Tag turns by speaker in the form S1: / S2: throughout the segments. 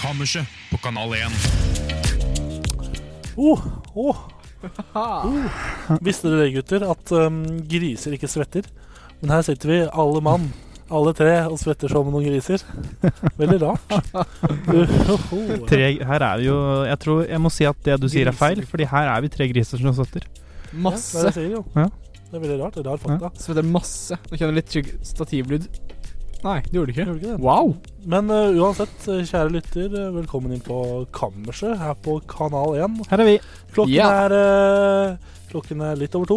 S1: Kammerset på Kanal 1.
S2: Oh, oh. Visste dere, gutter, at um, griser ikke svetter? Men her sitter vi, alle mann, alle tre, og svetter som noen griser. Veldig rart. Uh, oh, Uhoho.
S3: Tre, her er vi jo Jeg tror jeg må si at det du sier er feil,
S4: Griser.
S3: Fordi her er vi tre griser som støtter.
S2: Ja, det er det
S4: Masse.
S2: jeg sier, jo.
S3: Ja.
S2: Det er veldig rart. Rar fakta.
S4: Svetter masse. Nå kjenner jeg litt tygg stativlyd. Nei, det gjorde du ikke.
S2: Gjorde ikke det?
S4: Wow!
S2: Men uh, uansett, uh, kjære lytter, uh, velkommen inn på Kammerset her på Kanal 1.
S3: Her er vi.
S2: Klokken
S4: Ja.
S2: er uh, Klokken er litt over to,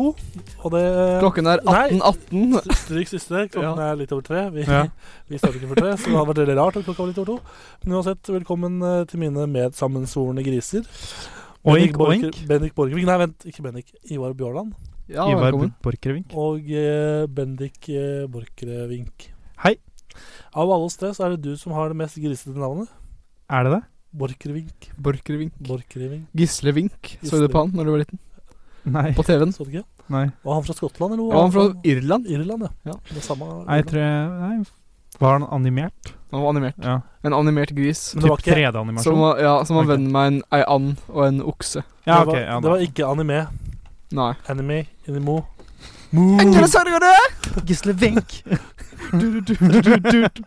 S2: og det uh,
S4: Klokken er
S2: Nei.
S4: 18.18.
S2: Stryk siste. Klokken er litt over tre. Vi,
S3: Ja.
S2: vi starter ikke før tre, så det hadde vært veldig rart om klokka var litt over to. Men uansett, velkommen eh, til mine medsammensvorne griser.
S3: Oink,
S2: Bendik Borch-
S3: oink.
S2: Bendik Borchgrevink Nei, vent, ikke Bendik. Ivar Bjørland
S4: Ja,
S3: Ivar
S4: velkommen.
S3: Borchgrevink.
S2: og eh, Bendik eh, Borchgrevink.
S3: Hei.
S2: Av alle oss tre så er det du som har det mest grisete navnet.
S3: Er det det?
S2: Borchgrevink.
S4: Borchgrevink.
S2: Borchgrevink.
S4: Gislevink. Så du
S2: Gislevink.
S4: på han når du var liten?
S3: Nei.
S4: På TV-en?
S2: Så du ikke?
S3: Nei,
S2: Var han fra Skottland, eller noe?
S4: Ja, han var fra Irland.
S2: Irland, ja.
S4: Ja.
S2: Det samme.
S3: Nei, jeg tror jeg Nei. Var han animert?
S4: Han var animert.
S3: Ja.
S4: En animert gris.
S2: Men det var
S3: Typ
S2: ikke-
S3: 3D-animasjon?
S4: Som var, ja, som var
S3: Ok.
S4: venn med en, ei and og en okse.
S2: det,
S3: Ja, ok.
S2: var,
S3: Ja,
S2: det
S3: da.
S2: var ikke anime.
S4: Nei.
S2: Anime. Animo.
S4: Enkle sørgere!
S3: Gisle Wenk.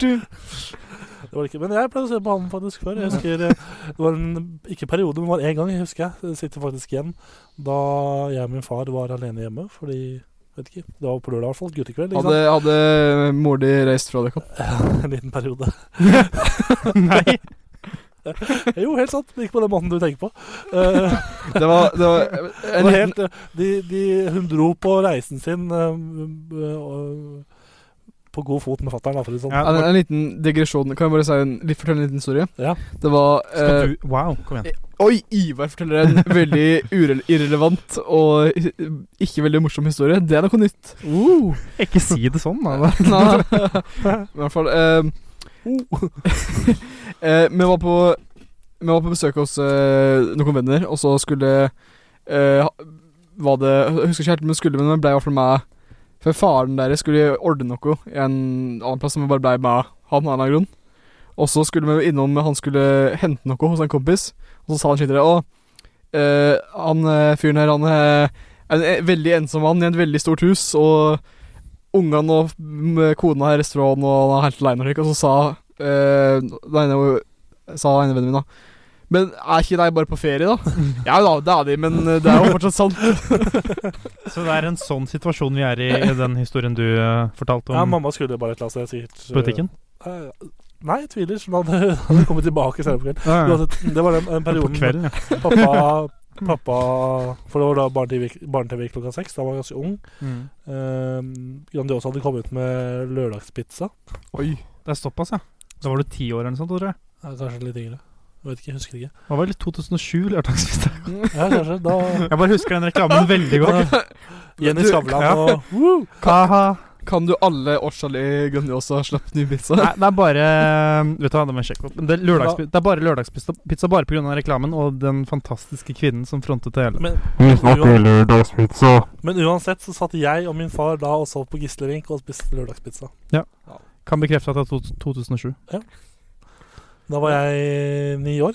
S2: Det var det ikke, men jeg pleide å se på han faktisk før. Jeg husker, eh, Det var en, ikke periode, men det var én gang. Jeg husker jeg. Det sitter faktisk igjen da jeg og min far var alene hjemme. Fordi vet ikke, Det var på lørdag, i hvert fall. Guttekveld. Ikke
S4: Hadde,
S2: sant?
S4: hadde mor di reist fra deg, Kopp?
S2: En liten periode.
S3: Nei.
S2: Jo, helt sant. Det gikk på den måten du tenker på. Eh,
S4: Det var, det var
S2: det
S4: en
S2: var
S4: liten-
S2: helt, eh, de, de, hun dro på reisen sin eh, eh, og- på god fot med fatter'n, for å si det sånn.
S3: Ja,
S4: En, en liten digresjon. Kan jeg bare si en, litt, fortelle en liten historie?
S2: Ja.
S4: Det var eh,
S3: Skal du Wow, kom igjen.
S4: Oi, Ivar forteller en veldig ure- irrelevant og i- ikke veldig morsom historie. Det er noe nytt.
S3: Uh, ikke si det sånn, da.
S4: Nei, I hvert fall eh, eh, Vi var på Vi var på besøk hos eh, noen venner, og så skulle eh, ha- Var det Jeg husker ikke helt om det skulle, men det ble i hvert fall meg. For faren deres skulle ordne noe i en annen plass, som bare ble med han av en eller annen grunn. Og så skulle vi innom Han skulle hente noe hos en kompis, og så sa han skikkelig Å, eh, han eh, fyren her, han eh, er en eh, veldig ensom mann i et veldig stort hus, og ungene og m- kona er i restauranten, og han er helt aleine, og slik», og så sa eh, den ene Sa den ene vennen min, da. Men er ikke de bare på ferie, da? ja da, det er de, men eh, det er jo fortsatt sant.
S3: Så det er en sånn situasjon vi er i i den historien du eh, fortalte
S2: Ja,
S3: om
S2: mamma skulle bare et eller annet sted, sikkert. eh,
S3: butikken?
S2: eh, Nei, jeg tviler. så Hun hadde, hadde kommet tilbake senere på kvelden.
S3: Ja, ja.
S2: Uansett, det var den, den
S3: På
S2: perioden
S3: kvelden, ja.
S2: pappa, pappa For det var da barne-TV barne-TV gikk klokka seks. Da var jeg ganske ung.
S3: Mm.
S2: Um, Grandiosa hadde kommet ut med lørdagspizza.
S4: Oi.
S3: Det er såpass, ja. Da var du ti år eller noe sånt, tror jeg.
S2: Ja, kanskje litt yngre. Jeg vet ikke, jeg husker ikke.
S3: Det var vel 2007 lørdagsfest.
S2: Ja, kanskje da
S3: Jeg bare husker den reklamen veldig godt.
S2: Jenny
S4: Du-
S2: Skavlan
S3: ja.
S2: og Woo!
S3: Aha.
S4: Kan du alle årstall i Grandiosa slapp ny pizza?
S3: Nei, det er bare eh, Vet du hva, det må jeg sjekke opp. Men Det er, lørdagspizza, det er bare lørdagspizza pizza bare pga. reklamen og den fantastiske kvinnen som frontet det hele.
S2: Men,
S5: Vi snakker lørdagspizza.
S2: men uansett så satt jeg og min far da og så på Gislevink og spiste lørdagspizza.
S3: Kan bekrefte at det er to- 2007.
S2: Da var jeg ni år.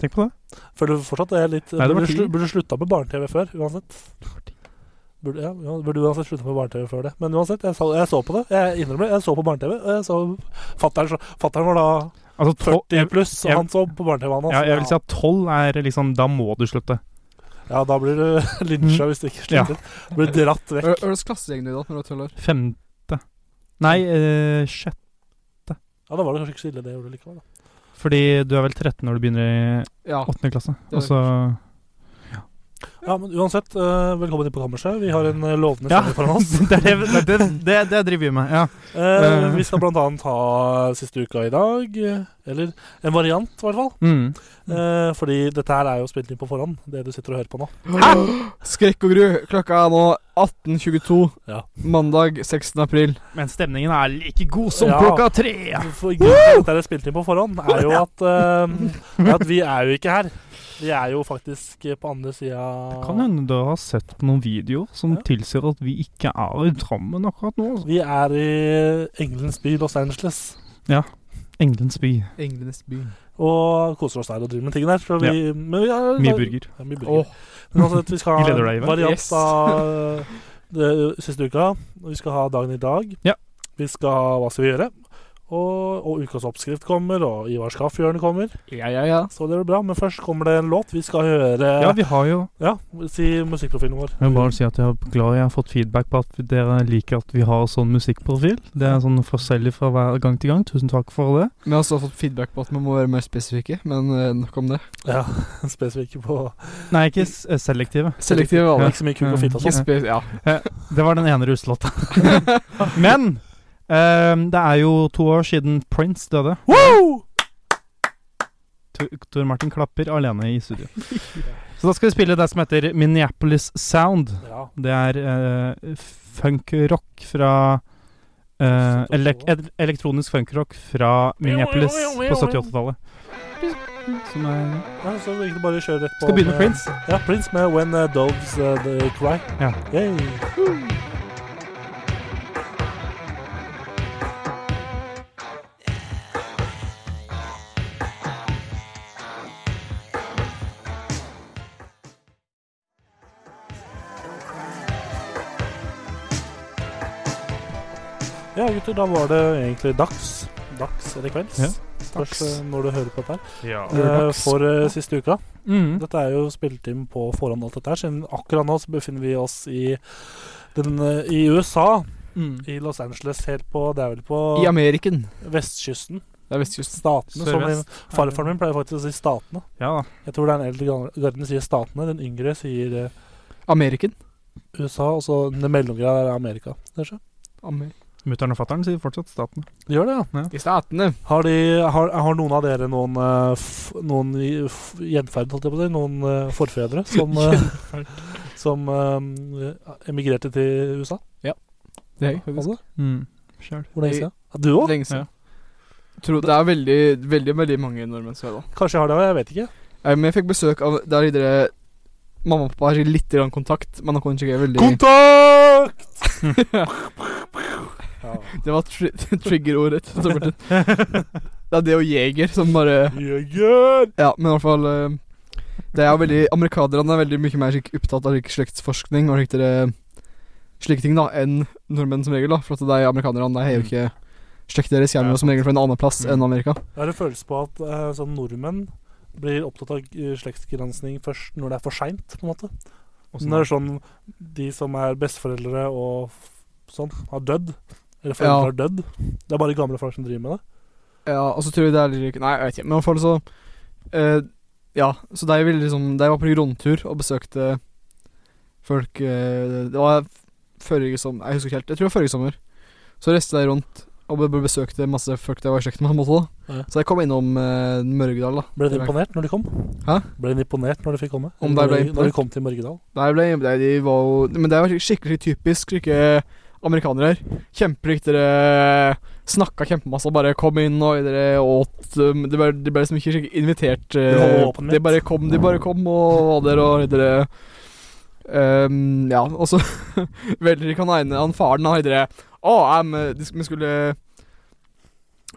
S3: Tenk på det.
S2: For du fortsatt er litt
S3: Nei, det var
S2: Burde,
S3: ti.
S2: slu, burde slutta med barne-TV før, uansett. Burde, ja, ja, burde uansett slutta med barne-TV før det. Men uansett, jeg så, jeg så på det. Jeg innrømmer det. Jeg så på barne-TV. og jeg så Fattern var da
S3: Altså, tolv
S2: 40 pluss, og
S3: jeg-
S2: han så på barne-TV. han,
S3: ja,
S2: altså.
S3: jeg vil si at tolv er liksom Da må du slutte.
S2: Ja, da blir du lynsja
S3: Mm.
S2: hvis du ikke slutter. Du blir dratt
S4: Hva
S2: vekk.
S4: hva slags klassegjeng du i da, når du var tolv år?
S3: Femte Nei, eh, sjette.
S2: Ja, Da var det kanskje ikke så ille det jeg gjorde likevel. Da.
S3: Fordi du Ah. er vel 13 når du begynner i
S4: Ja.
S3: åttende klasse.
S4: er
S3: Og så
S2: Ja, men uansett, eh, velkommen inn på kammerset. Vi har en eh, lovende
S3: Ja.
S2: sending foran oss.
S3: Det er det, det, er det, det, det driver vi med. Ja.
S2: Eh, vi skal blant annet ha siste uka i dag. eh, Eller en variant, i hvert fall.
S3: Mm.
S2: Eh, fordi dette her er jo spilt inn på forhånd, det du sitter og hører på nå.
S4: Skrekk og gru. Klokka er nå 18.22.
S2: Ja.
S4: Mandag 16. april.
S3: Men stemningen er like god som
S2: Ja.
S3: klokka tre!
S2: For grunnen til at dette er spilt inn på forhånd, er jo at, eh, er at vi er jo ikke her. Vi er jo faktisk eh, på andre sida
S3: Kan hende du har sett på noen videoer som
S2: Ja.
S3: tilsier at vi ikke er i Drammen akkurat nå. altså.
S2: Vi er i Engelens by, Los Angeles.
S3: Englens by.
S4: Englenes by.
S2: Og koser oss der og driver med ting der. Så vi, men vi er,
S3: Mye burger.
S2: Ja, mye burger.
S4: Åh,
S2: Men altså, at vi skal ha
S3: Gleder deg,
S2: en
S3: Ivar?
S2: variant
S4: Yes.
S2: av eh, det siste uka. Vi skal ha dagen i dag.
S3: Ja.
S2: Vi skal ha Hva skal vi gjøre? Og, og ukas oppskrift kommer, og Ivars kaffehjørne kommer.
S4: ja, ja, ja.
S2: Så det blir bra. Men først kommer det en låt. Vi skal høre
S3: Ja, vi har jo
S2: Ja, si musikkprofilen vår.
S3: Jeg vil bare si at jeg er glad jeg har fått feedback på at dere liker at vi har sånn musikkprofil. Det er sånn forskjellig fra hver gang til gang. Tusen takk for det.
S4: Vi har også fått feedback på at man må være mer spesifikke, men eh, nok om det.
S2: Ja, spesifikke på
S3: Nei, ikke s- eh, selektive.
S4: Selektive valg.
S2: Ikke så mye kuk og fitte og
S4: Ikke
S2: sånn.
S4: spe ja.
S3: Det var den ene russelåta. Men ehm, det er jo to år siden Prince døde.
S2: Wow!
S3: Tor- Tor Martin klapper alene i studio. Så da skal vi spille det som heter Minneapolis Sound.
S2: Ja.
S3: Det er eh, funk-rock fra eh, elek el Elektronisk funk-rock fra Minneapolis på 70-80-tallet. Som er
S2: ja, så egentlig bare kjøre rett på eh,
S3: Skal
S2: med-
S3: begynne med Prince.
S2: Ja, Prince med When uh, Doves uh, They Cry.
S3: Ja.
S2: Yay. Ja, gutter, da var det egentlig dags. Dags eller kvelds.
S3: Ja.
S2: Spørs eh, når du hører på dette.
S3: Ja.
S2: her Eh, For eh, siste uka.
S3: Mm.
S2: Dette er jo spilt inn på forhånd, alt dette her. Siden akkurat nå så befinner vi oss i, den, eh, i USA,
S3: Mm.
S2: i Los Angeles, helt på Det er vel på
S4: I Ameriken.
S2: vestkysten.
S4: Det er vestkysten.
S2: Statene, som min,
S3: Sørvest.
S2: farfaren min pleier faktisk å si Statene.
S3: Ja da.
S2: Jeg tror det er den eldre gamle- garden sier Statene, den yngre sier eh,
S4: Ameriken.
S2: USA, og så den mellomgreia er Amerika. Kanskje?
S4: Amer
S3: Mutter'n og fatter'n sier fortsatt Staten.
S2: De gjør det, ja.
S4: I statene.
S2: Har, de, har, har noen av dere noen, eh, f, noen i- f, gjenferd, holdt jeg på å si, noen eh, forfedre som, eh, som eh, emigrerte til USA?
S4: Det er
S2: Hadde?
S3: Mm. Sjæl.
S2: Hvor lenge siden? Ja, du òg?
S4: Lenge siden. Tror det er veldig, veldig, veldig mange nordmenn som er da.
S2: Kanskje jeg har det, jeg vet ikke.
S4: Eh, Men jeg fikk besøk av Der er dere Mamma og pappa har litt grann kontakt, men han kan ikke veldig
S2: Kontakt! ja.
S4: Det var tri trigger-ordet. til Torbertin. Det er det og jeger som bare
S2: Jøger!
S4: Ja, men i hvert fall eh, Det er jo veldig Amerikanerne er veldig mye mer slik opptatt av slik slektsforskning og slik dere- slike ting da enn nordmenn som regel, da. For at det er amerikanerne de har jo ikke slekten deres hjemme
S3: Ja,
S4: som regel fra en annen plass
S3: Mm.
S4: enn Amerika.
S2: Jeg har en følelse på at eh, som nordmenn blir opptatt av eh, slektsgransking først når det er for seint, på en måte. Når det er sånn de som er besteforeldre og f- sånn, har dødd. Eller foreldre
S4: Ja.
S2: har dødd. Det er bare gamle folk som driver med det.
S4: Ja, og så tror jeg det er litt Nei, jeg vet ikke. Men i hvert fall så eh, Ja, så de ville liksom De var på rundtur og besøkte folk eh, Det var f- forrige som Jeg husker ikke helt. Jeg tror det var forrige sommer. Så reiste de rundt og be- be- besøkte masse folk de var i slekt med. på en måte, da.
S2: Ja.
S4: Så de kom innom eh, Mørgedal, da.
S2: Ble de
S4: Det var-
S2: imponert når de kom?
S4: Hæ?
S2: Ble de imponert når de fikk komme?
S4: Om de
S2: Når
S4: ble
S2: Når
S4: imponert?
S2: de kom til Mørgedal?
S4: Nei, ble, nei, de var jo Men det var skikkelig typisk slike amerikanere her. Kjemperiktigere Snakka kjempemasse og bare kom inn og dere åt um, De ble, de ble liksom ikke skikkelig invitert.
S2: Det
S4: eh,
S2: var åpenhet.
S4: De bare kom, de bare kom og var der og dere um, Ja, og så velger ikke han ene Han faren, han dere Å, em, de sk- vi skulle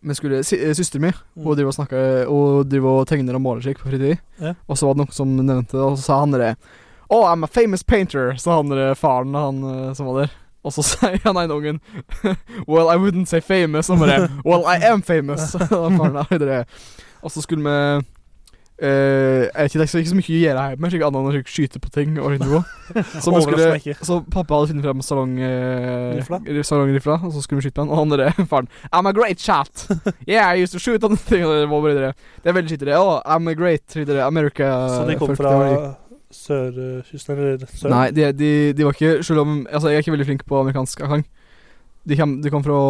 S4: vi skulle, sy- eh, Søsteren min
S2: Mm.
S4: hun driver og snakker Hun driver eh, og tegner og måler slik på fritid.
S2: Ja.
S4: Og så var det noen som nevnte det, og så sa han det. Oh, I'm a famous painter, sa han der faren han eh, som var der. Og så sier han ene ungen Well, I wouldn't say famous. Han bare Well, I am famous. Og faren er det. Og så skulle vi eh, jeg vet ikke, Det er ikke så- ikke så mye å gjøre hjemme, slik annet enn å slik skyte på ting. og slik noe. Så, vi
S2: Overrasker meg
S4: skulle,
S2: ikke.
S4: så pappa hadde funnet frem salong, eh,
S2: Rifla.
S4: ri- salongrifla, og så skulle vi skyte på den. Og han derre faren I'm a great shot. Yeah, I used to shoot on the thing. Og det var bare det. Det er veldig skitt i det. Oh, I'm a great i det. America
S2: Så de kom
S4: folk,
S2: fra
S4: det var de.
S2: sørkysten, eller sør?
S4: Nei, de, de, de var ikke Selv om Altså, jeg er ikke veldig flink på amerikansk aksent. De, kom- de kom fra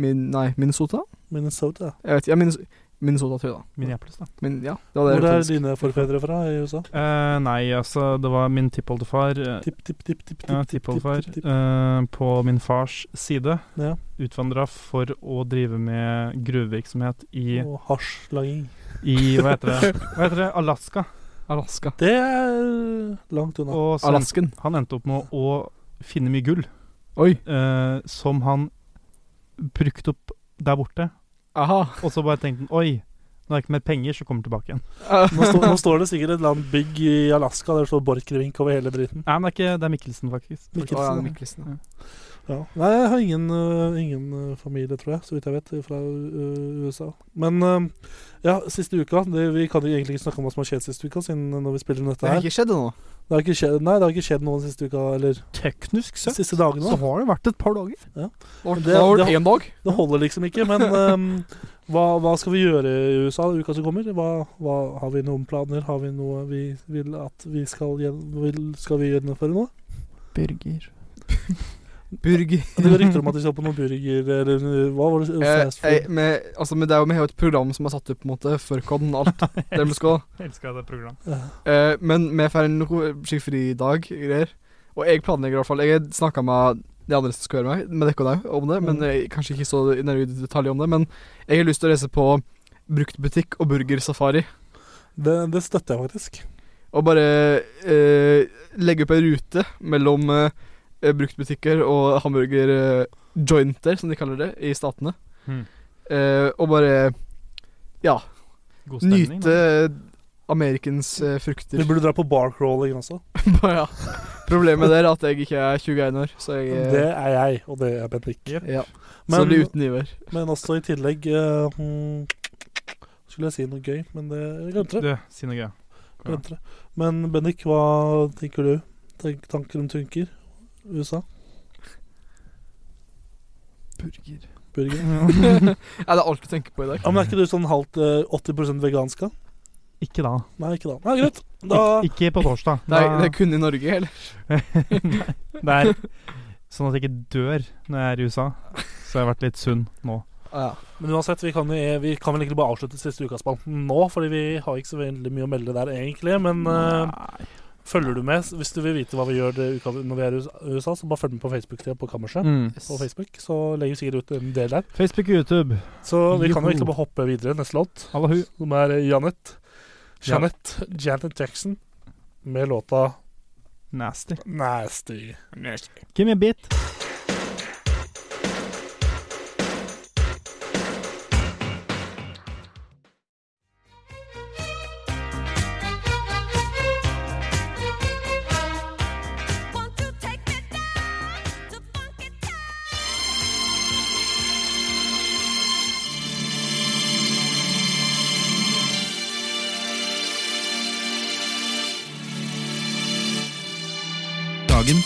S4: min, Nei, Minnesota?
S2: Minnesota.
S4: Jeg vet, ja, Minnes- Minnesota, tror jeg, da.
S3: Minneapolis, da.
S4: Min, ja, det var det.
S2: Hvor
S4: jeg
S2: er
S4: hørte.
S2: dine forfedre fra i USA?
S3: Eh, nei, altså, det var min tippoldefar eh,
S2: Tipp, tipp, tipp, tipp, tipp,
S3: ja,
S2: tipp, tipp,
S3: tippoldefar
S2: tipp, tipp.
S3: eh, på min fars side.
S2: Ja.
S3: Utvandra for å drive med gruvevirksomhet i,
S2: Og hasjlaging.
S3: i Hva heter det? Hva heter det? Alaska.
S4: Alaska.
S2: Det er langt unna.
S3: Og så endte,
S4: Alasken.
S3: han endte opp med å finne mye gull
S4: Oi.
S3: eh, som han brukte opp der borte.
S4: Aha.
S3: Og så bare tenkte han oi, nå er det ikke mer penger, så kommer han tilbake igjen.
S2: Nå, står- nå står det sikkert et eller annet bygg i Alaska der det står Borchgrevink over hele driten.
S3: Nei, men det er ikke Det er Mikkelsen, faktisk.
S4: Å, ja,
S2: Mikkelsen.
S4: Mikkelsen.
S2: Ja. Nei, jeg har ingen, øh, ingen øh, familie, tror jeg, så vidt jeg vet, fra øh, USA. Men øh, ja, siste uka det, Vi kan jo egentlig ikke snakke om hva som har skjedd siste uka, siden øh, når vi spiller inn
S4: Det
S2: dette her.
S4: har ikke skjedd ennå.
S2: Det har ikke skjedd, nei, det har ikke skjedd noe den siste uka, eller
S3: Teknisk
S2: de siste dagene. Da.
S3: har det vært et par dager.
S4: Det
S2: Men det-
S4: det
S2: det
S4: har vært
S2: har-
S4: én dag.
S2: Det holder liksom ikke. Men øhm, hva, hva skal vi gjøre i USA i uka som kommer? Hva, hva, har vi noen planer? Har vi noe vi vil at vi skal, gjen- vil, skal vi gjennomføre noe?
S3: Burger.
S4: Burger.
S2: Det går rykter om at vi skal på noen burger eller hva var det?
S4: Eh,
S2: Fast
S4: eh,
S2: food.
S4: med, altså, men det er jo vi har jo et program som er satt opp på en måte for Kodden. Alt. det vi skal.
S3: Elska det programmet.
S2: Ja.
S4: Eh, men vi får noe skikkelig fridag. Greier. Og jeg planlegger i hvert fall Jeg snakka med de andre som skal høre meg, med dere òg, om det. Men
S2: Mm.
S4: jeg, kanskje ikke så i nærmere detalj om det. Men jeg har lyst til å reise på bruktbutikk og burgersafari.
S2: Det, det støtter jeg faktisk.
S4: Og bare eh, legge opp ei rute mellom eh, bruktbutikker og hamburger-jointer, som de kaller det i Statene.
S3: Mm.
S4: Eh, og bare
S3: God stemning.
S4: nyte
S3: da.
S4: Amerikens eh, frukter.
S2: Vi burde dra på barcrawling også.
S4: Bare, ja. Problemet der er at jeg ikke er 21 år, så jeg eh,
S2: Det er jeg, og det er Bendik.
S3: Yep.
S4: ja. så det
S2: Men,
S4: blir uten iver.
S2: men også i tillegg eh, hmm, Skulle jeg si noe gøy, men det jeg glemte det.
S3: Du, si noe gøy.
S2: Glemte det. Men Bendik, hva tenker du? Tenk, tanker om tunker? USA?
S3: Burger.
S2: Burger?
S4: Nei, det er alt du tenker på i dag.
S2: Ja, men er ikke du sånn halvt eh, 80 vegansk? da?
S3: Ikke da.
S2: Nei, ikke da. Nei, greit. Da
S3: Ik ikke på torsdag.
S4: Det er,
S3: Da-
S4: det er kun i Norge, eller?
S3: det er sånn at jeg ikke dør når jeg er i USA. Så jeg har vært litt sunn nå.
S4: Ah,
S2: Men uansett, vi kan, jo- eh, vi kan vel egentlig bare avslutte siste ukas spalten nå, fordi vi har ikke så veldig mye å melde der egentlig. Men eh,
S3: Nei.
S2: følger du med hvis du vil vite hva vi gjør det uka når vi er i USA, så bare følg med på Facebook-tida på Kammerset.
S3: Mm.
S2: På Facebook, så legger vi sikkert ut en del der.
S3: Facebook og YouTube.
S2: Så vi kan jo
S3: Joho.
S2: egentlig bare hoppe videre. Neste låt,
S3: Allahu.
S2: som er eh, Janet.
S3: Ja.
S2: Janet, Janet Jackson med låta
S3: Nasty.
S2: 'Nasty'.
S3: Give me a bit.
S6: Won't you take me down to funky town?
S1: Dagen.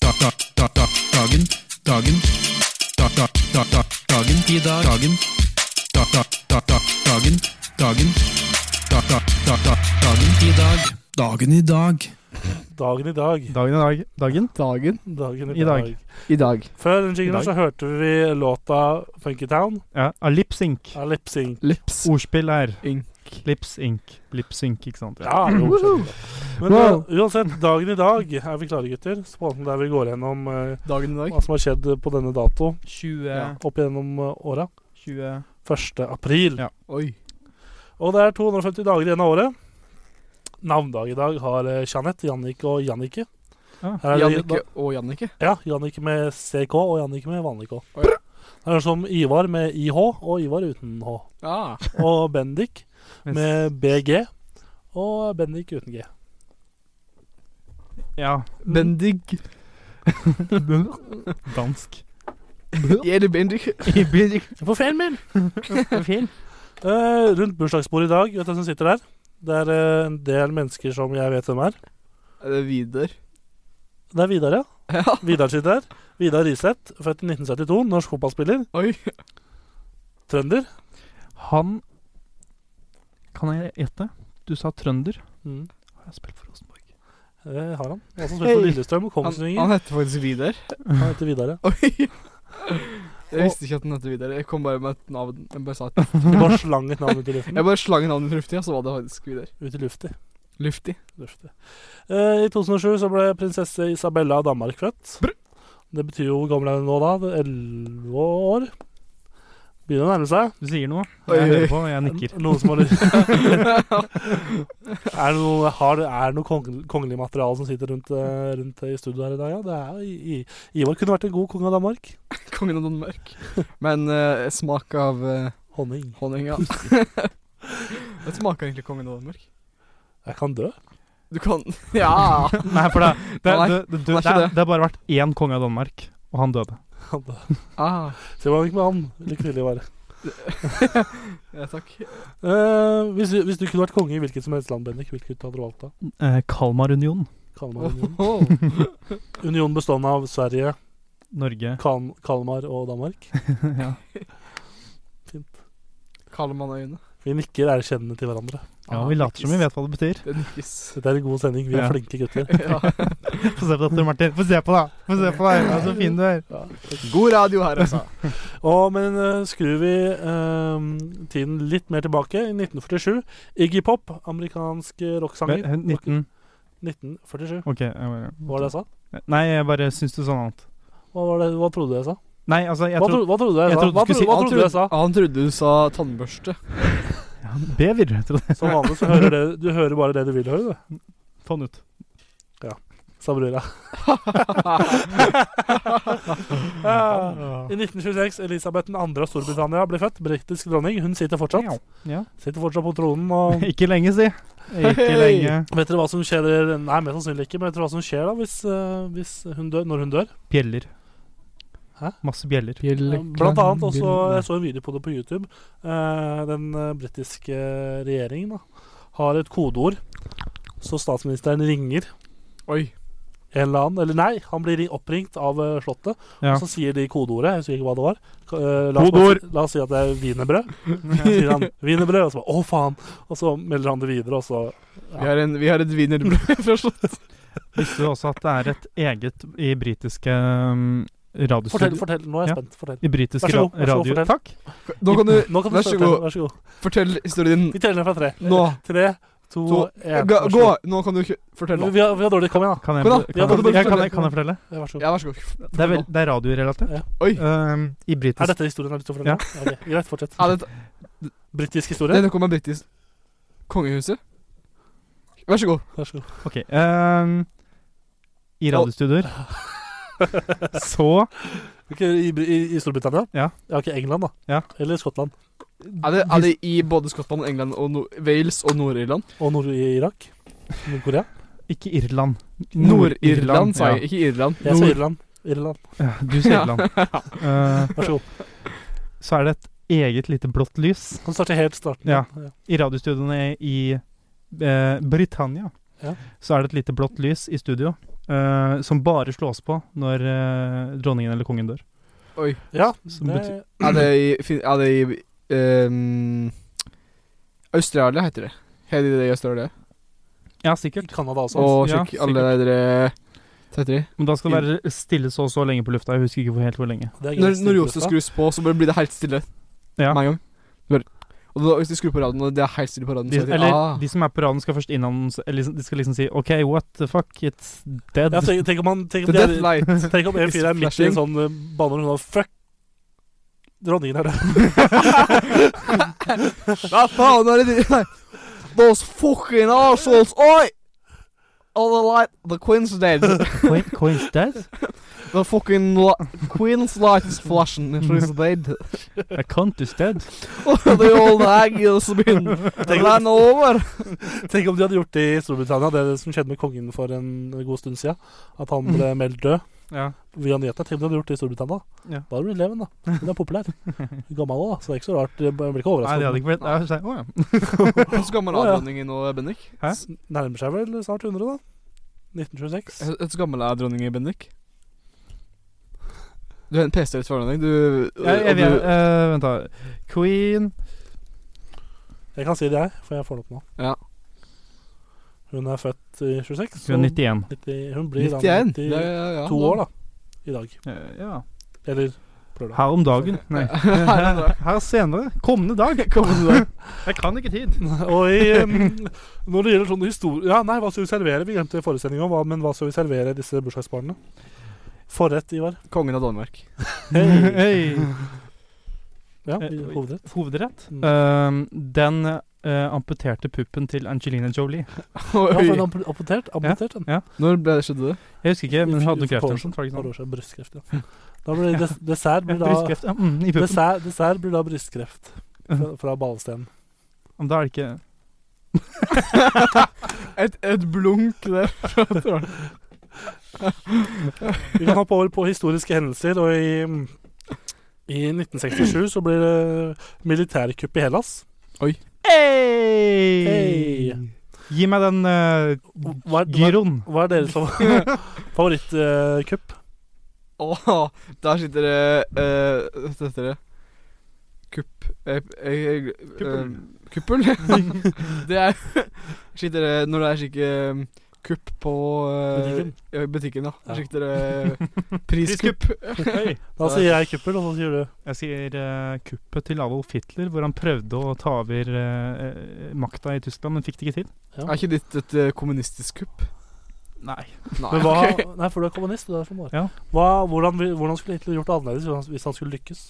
S1: Da, da, da, da, dagen. Dagen. Da, da, da, da, dagen. I dag. Dagen. Da, da, da, da, dagen. Dagen. Da, da, da, da, dagen. I dag. Dagen i dag.
S2: Dagen i dag.
S3: Dagen i dag. Dagen.
S4: dagen.
S2: Dagen i,
S3: I
S2: dag.
S3: dag.
S4: I dag.
S2: Før den
S3: I
S2: jinglen
S3: dag.
S2: så hørte vi låta 'Funky Town'
S3: Ja. av Lipsync.
S2: av Lipsing.
S4: Lips.
S3: Ordspill er
S4: Ink.
S3: Lipsync. Lipsync, ikke sant?
S2: Ja, jo, skjønner jeg. Men
S3: Wow.
S2: uh, uansett, dagen i dag er vi klare, gutter. Spalten der vi går gjennom eh,
S4: Dagen i dag.
S2: hva som har skjedd på denne dato
S3: 20
S2: opp gjennom eh, åra.
S3: 20
S2: 1. april.
S3: Ja.
S4: Oi.
S2: Og det er 250 dager igjen av året. Navndag i dag har eh, Jeanette, Jannik og Jannike.
S3: Ah,
S2: Her er det-
S4: Jannicke og Jannicke.
S2: Ja, Jannicke med CK og Jannicke med vanlig K.
S4: Oi.
S2: Det er som Ivar med IH og Ivar uten H.
S4: Ah.
S2: Og Bendik med BG og Bendik uten G.
S3: Ja.
S4: Bendig.
S3: Dansk.
S4: Eller Bendik.
S2: På ferien min! Eh,
S3: Fin.
S2: rundt bursdagsbordet i dag, vet du hvem som sitter der? Det er eh, en del mennesker som jeg vet hvem er.
S4: Er det Vidar?
S2: Det er Vidar, ja.
S4: Ja.
S2: Vidar sitter der. Vidar Riseth, født i 1972, norsk fotballspiller.
S4: Oi.
S2: Trønder.
S3: Han Kan jeg gjette? Du sa trønder.
S2: Mm.
S3: Har jeg spilt for Rosenborg?
S2: Det Mm. Eh, har han. Han som spilte på
S4: Hei.
S2: Lillestrøm og
S4: Han,
S2: Kongsvinger.
S4: han heter faktisk Vidar.
S2: Han heter Vidar, ja.
S4: Oi! Jeg visste ikke at han het Vidar. Jeg kom bare med et navn. Jeg bare, sa et.
S2: Du bare slang et navn ut i luften.
S4: jeg bare slang navnet i luftig, og så var det faktisk Vidar.
S2: Ut i lufti.
S4: Luftig.
S2: Lufti. Eh, I 2007 så ble prinsesse Isabella av Danmark født.
S4: Brr.
S2: Det betyr jo hvor gammel er hun nå, da? Elleve år? Begynner å nærme seg.
S3: Du sier noe.
S4: Oi, oi,
S3: Jeg
S4: oi.
S3: hører på, og jeg nikker.
S2: N- Noen som har lyst Er det noe, har, er det noe kong, kongelig materiale som sitter rundt, eh, rundt i studio her i dag? Ja, det er jo I, I, Ivar kunne vært en god konge av Danmark.
S4: Kongen av Danmark. Men eh, smak av eh,
S2: Honning.
S4: honning, ja. Hva smaker egentlig kongen av Danmark?
S2: Jeg kan dø.
S4: Du kan Ja!
S3: Nei, for det, det,
S4: Nei,
S3: det, det, det,
S4: han er ikke
S3: det,
S4: det.
S3: har bare vært én konge av Danmark, og han døde.
S2: Han dø.
S4: Ah,
S2: Se hvordan det gikk med han. Lykke til, Ivar.
S4: ja, takk.
S2: Eh, hvis, du- hvis du kunne vært konge i hvilket som helst land, Bendik, hvilket hadde du valgt da?
S3: Eh, Kalmarunionen.
S2: Kalmar Union.
S4: Åh.
S2: Union bestående av Sverige,
S3: Norge.
S2: kan Kalmar og Danmark.
S3: ja.
S4: Kaller man øyne.
S2: Vi nikker erkjennende til hverandre.
S3: ja, vi later som vi vet hva det betyr.
S4: Det nikkes.
S2: Dette er en god sending. Vi er
S3: Ja.
S2: flinke gutter.
S4: Ja.
S3: Få se på dette, Martin. Få se på deg! Få se på deg! Ja, så fin du er.
S4: God radio her, altså.
S2: Og, men eh, skrur vi eh, tiden litt mer tilbake, i 1947 Iggy Pop, amerikansk eh, rocksanger.
S3: Vel, 19
S2: 1947.
S3: OK. jeg bare-
S2: Hva var det jeg sa?
S3: Nei, jeg bare syns du sa noe annet.
S2: Hva, var det, hva trodde du jeg sa?
S3: Nei, altså, jeg
S2: Hva,
S3: tror
S2: tro, hva trodde jeg,
S3: jeg
S2: sa?
S3: trodde du
S2: Hva,
S3: skulle
S2: tro,
S3: si-
S2: hva trodde jeg sa?
S4: Han trodde du sa tannbørste.
S3: ja, Bever, trodde jeg.
S2: Som vanlig så hører det, du hører bare det du vil høre, du.
S3: Få den ut.
S2: Sa brura. I 1926 Elisabeth 2. av Storbritannia ble født. Britisk dronning. Hun sitter fortsatt
S3: Ja.
S2: Sitter fortsatt på tronen. Og
S3: Ikke lenge, si. Ikke
S4: Hei.
S3: lenge.
S2: vet dere hva som skjer Nei, mest sannsynlig ikke. Men vet dere hva som skjer da hvis, eh, hvis hun dør, når hun dør?
S3: Bjeller.
S2: Hæ?
S3: Masse bjeller.
S2: Ja, Blant annet også, jeg så en video på det på YouTube. Eh, den eh, britiske regjeringen da, har et kodeord. Så statsministeren ringer
S4: Oi.
S2: en eller annen Eller nei, han blir ring- oppringt av eh, Slottet.
S3: Ja.
S2: Og så sier de kodeordet. Jeg husker ikke hva det var. Ka- eh, la, oss bare, si- la oss si at det er wienerbrød. Så sier han wienerbrød, og så bare å faen. Og så melder han det videre, og så
S4: Vi har, en, vi har et wienerbrød fra Slott.
S3: Visste du også at det er et eget i britiske um,
S2: Fortell,
S3: radiostudio
S2: fortell. Nå er jeg
S3: Ja.
S2: spent. Fortell.
S3: I britiske
S2: Vær så god,
S3: ra-
S2: vær så god,
S3: radio...
S2: fortell.
S3: Takk.
S4: Nå kan du
S2: Nå kan du
S4: Vær så
S2: starte.
S4: god.
S2: Vær så god.
S4: fortelle historien
S2: Vi teller ned fra tre.
S4: nå.
S2: Tre, to,
S4: To.
S2: én.
S4: Gå,
S2: Vær så
S4: gå.
S2: god.
S4: Nå kan du ikke- fortelle.
S2: Vi har, vi har dårlig. Kom igjen, da.
S3: Kan jeg,
S4: Kom da,
S2: ja, kan du
S3: kan, jeg,
S2: bare
S3: jeg, kan,
S4: fortelle?
S3: jeg, kan jeg fortelle?
S2: Ja, Vær så god.
S4: Ja, vær så god.
S3: Det er, vel, det er radiorelatert.
S4: Oi.
S3: Um, I
S2: Er
S3: britisk
S2: dette historien jeg har lyst til å fortelle? Ja. ok, greit, fortsett.
S4: Ja, det,
S2: Britisk
S4: det
S2: historie?
S4: er noe med britisk Kongehuset. Vær så god.
S2: Vær så god.
S3: Ok. Um, I radiostudioer så
S2: Ok, i, i, I Storbritannia?
S3: Ja.
S2: Ja, ok, England, da.
S3: Ja.
S2: Eller Skottland.
S4: Er det, er det i både Skottland, England, og Nor Wales og Nord-Irland?
S2: Og Nord-Irak? Nord-Korea?
S3: Ikke Irland.
S4: Nord-Irland, sa jeg.
S3: ja.
S4: Ikke Irland.
S2: Jeg sa Irland. Irland.
S3: Ja, Du sier Irland. Uh,
S2: Vær så god.
S3: så er det et eget lite blått lys
S2: Kan starte helt starten.
S3: Ja. i radiostudioene i eh, Britannia.
S2: Ja.
S3: Så er det et lite blått lys i studio eh, som bare slås på når eh, dronningen eller kongen dør.
S4: Oi.
S2: Ja,
S3: Som
S2: det,
S3: betyr-
S4: Er det i, fin- er det i ehm, Australia, heter det. Heter det det i Australia?
S3: Ja,
S2: I
S3: sikkert.
S2: Canada altså. også.
S4: Og
S3: Ja,
S4: sjekk alle dere Hva heter de?
S3: Men da skal det være stille så og så lenge på lufta. Jeg husker ikke hvor- helt hvor lenge.
S2: Det er
S4: Når,
S2: greit.
S4: når ljoset skrus på, så bare blir det helt stille
S3: Ja.
S4: med en gang. Du bare- Og da, hvis de skrur på radioen, og det er helt stille på radioen,
S3: De,
S4: så er det
S3: eller
S4: ah,
S3: de som er på raden, skal først innannons... Eller liksom- de skal liksom si OK, what the fuck, it's dead.
S2: ja, tenk, tenk om han Tenk
S4: The
S2: om, de
S4: Death
S2: er,
S4: Light.
S2: tenk om en fyr er midt i en
S4: Flashing.
S2: sånn eh, banner og sånn Fuck! Dronningen er død.
S4: Hva faen er det de Nei. Those fucking assholes. Oi! All the light The Queen's dead.
S3: Coin, coin's dead?
S4: The fucking li Queen's light is flashing. She's dead.
S3: A cunt is dead?
S4: the old hag has been run over.
S2: Tenk om de hadde gjort det i Storbritannia, det som skjedde med kongen for en god stund siden. At han ble meldt død.
S3: Ja.
S2: via nyhetene. Tenk om de hadde gjort det i Storbritannia.
S3: Ja.
S2: Da hadde du blitt leven, da. Hun er populær. Gammel òg, da, så det er ikke så rart. Jeg blir ikke
S3: Nei, det hadde
S2: overrasket.
S3: ikke blitt Å ja.
S4: Hvor gammel
S2: Å,
S4: er
S2: ja.
S4: dronningen nå, Bendik?
S2: Nærmer seg vel snart 100, da. 1926.
S4: Hvor gammel er dronningen, Bendik? Du har en PC-rett for dronning. Du,
S3: Jeg, jeg, vet-
S4: og du
S3: eh, vent, da. Queen
S2: Jeg kan si det, jeg, for jeg får det opp nå.
S4: Ja.
S2: Hun er født i 26.
S3: Hun er 91.
S2: 90, hun blir
S4: 91?
S2: da
S4: Det er-
S2: 92
S4: ja,
S2: år, da. I dag.
S3: Eh, Ja.
S2: Eller lørdag.
S3: Her om dagen. Nei. Her her senere. Kommende dag. Kommende dag. Jeg kan ikke tid.
S2: Og i, um, når det gjelder sånne historier Ja, nei, hva skal vi servere? Vi glemte forestillinga, men hva skal vi servere disse bursdagsbarna? Forrett, Ivar.
S4: Kongen av Danmark.
S3: Hei.
S2: Ja,
S3: Eh,
S2: i hovedrett.
S3: Hovedrett.
S2: Mm.
S3: Eh, den eh, amputerte puppen til Angelina Jolie.
S2: Ja, for
S4: Oi.
S2: den ampu- amputert, amputert den.
S4: Når ble det skjedde det?
S3: Jeg husker ikke, men hun
S2: I-
S3: hadde
S2: for-
S3: kreft. eller sånt, var det
S2: Et
S3: ikke
S2: par
S3: sånn?
S2: år siden. Brystkreft, ja. Da blir des dessert
S3: Ja,
S2: blir da,
S3: Brystkreft. ja, Mm, I puppen.
S2: dessert, dessert blir da brystkreft fra, fra ballsten.
S3: Men Da er det ikke
S4: Et, et blunk der.
S2: Vi kan hoppe over på historiske hendelser, og i, mm, i 1967 så blir det militærkupp i Hellas.
S3: Hey! Eh,
S2: Hey.
S3: Gi meg den eh,
S2: Hva er, hva,
S3: gyroen.
S2: hva er deres favorittkupp?
S4: Eh, Åh, der sitter det eh, Hva heter det? Kupp... eh, eh, eh, Kuppel? det er Sitter det Når det er slik eh, kupp på eh,
S2: Butikken.
S4: ja, butikken, ja.
S2: Ja.
S4: Der sitter det eh, priskupp.
S3: Hey.
S2: Da sier jeg kuppel, og så sier du
S3: Jeg sier eh, kuppet til Adolf Hitler, hvor han prøvde å ta over eh, eh, makta i Tyskland, men fikk det ikke til.
S2: Ja.
S4: Er ikke ditt et eh, kommunistisk kupp?
S3: Nei.
S4: Nei.
S2: Men hva,
S4: ok.
S2: Nei, for du er kommunist. Du er som bare.
S3: Ja.
S2: Hva, hvordan, vil- hvordan skulle Hitler gjort det annerledes hvis han- hvis han skulle lykkes?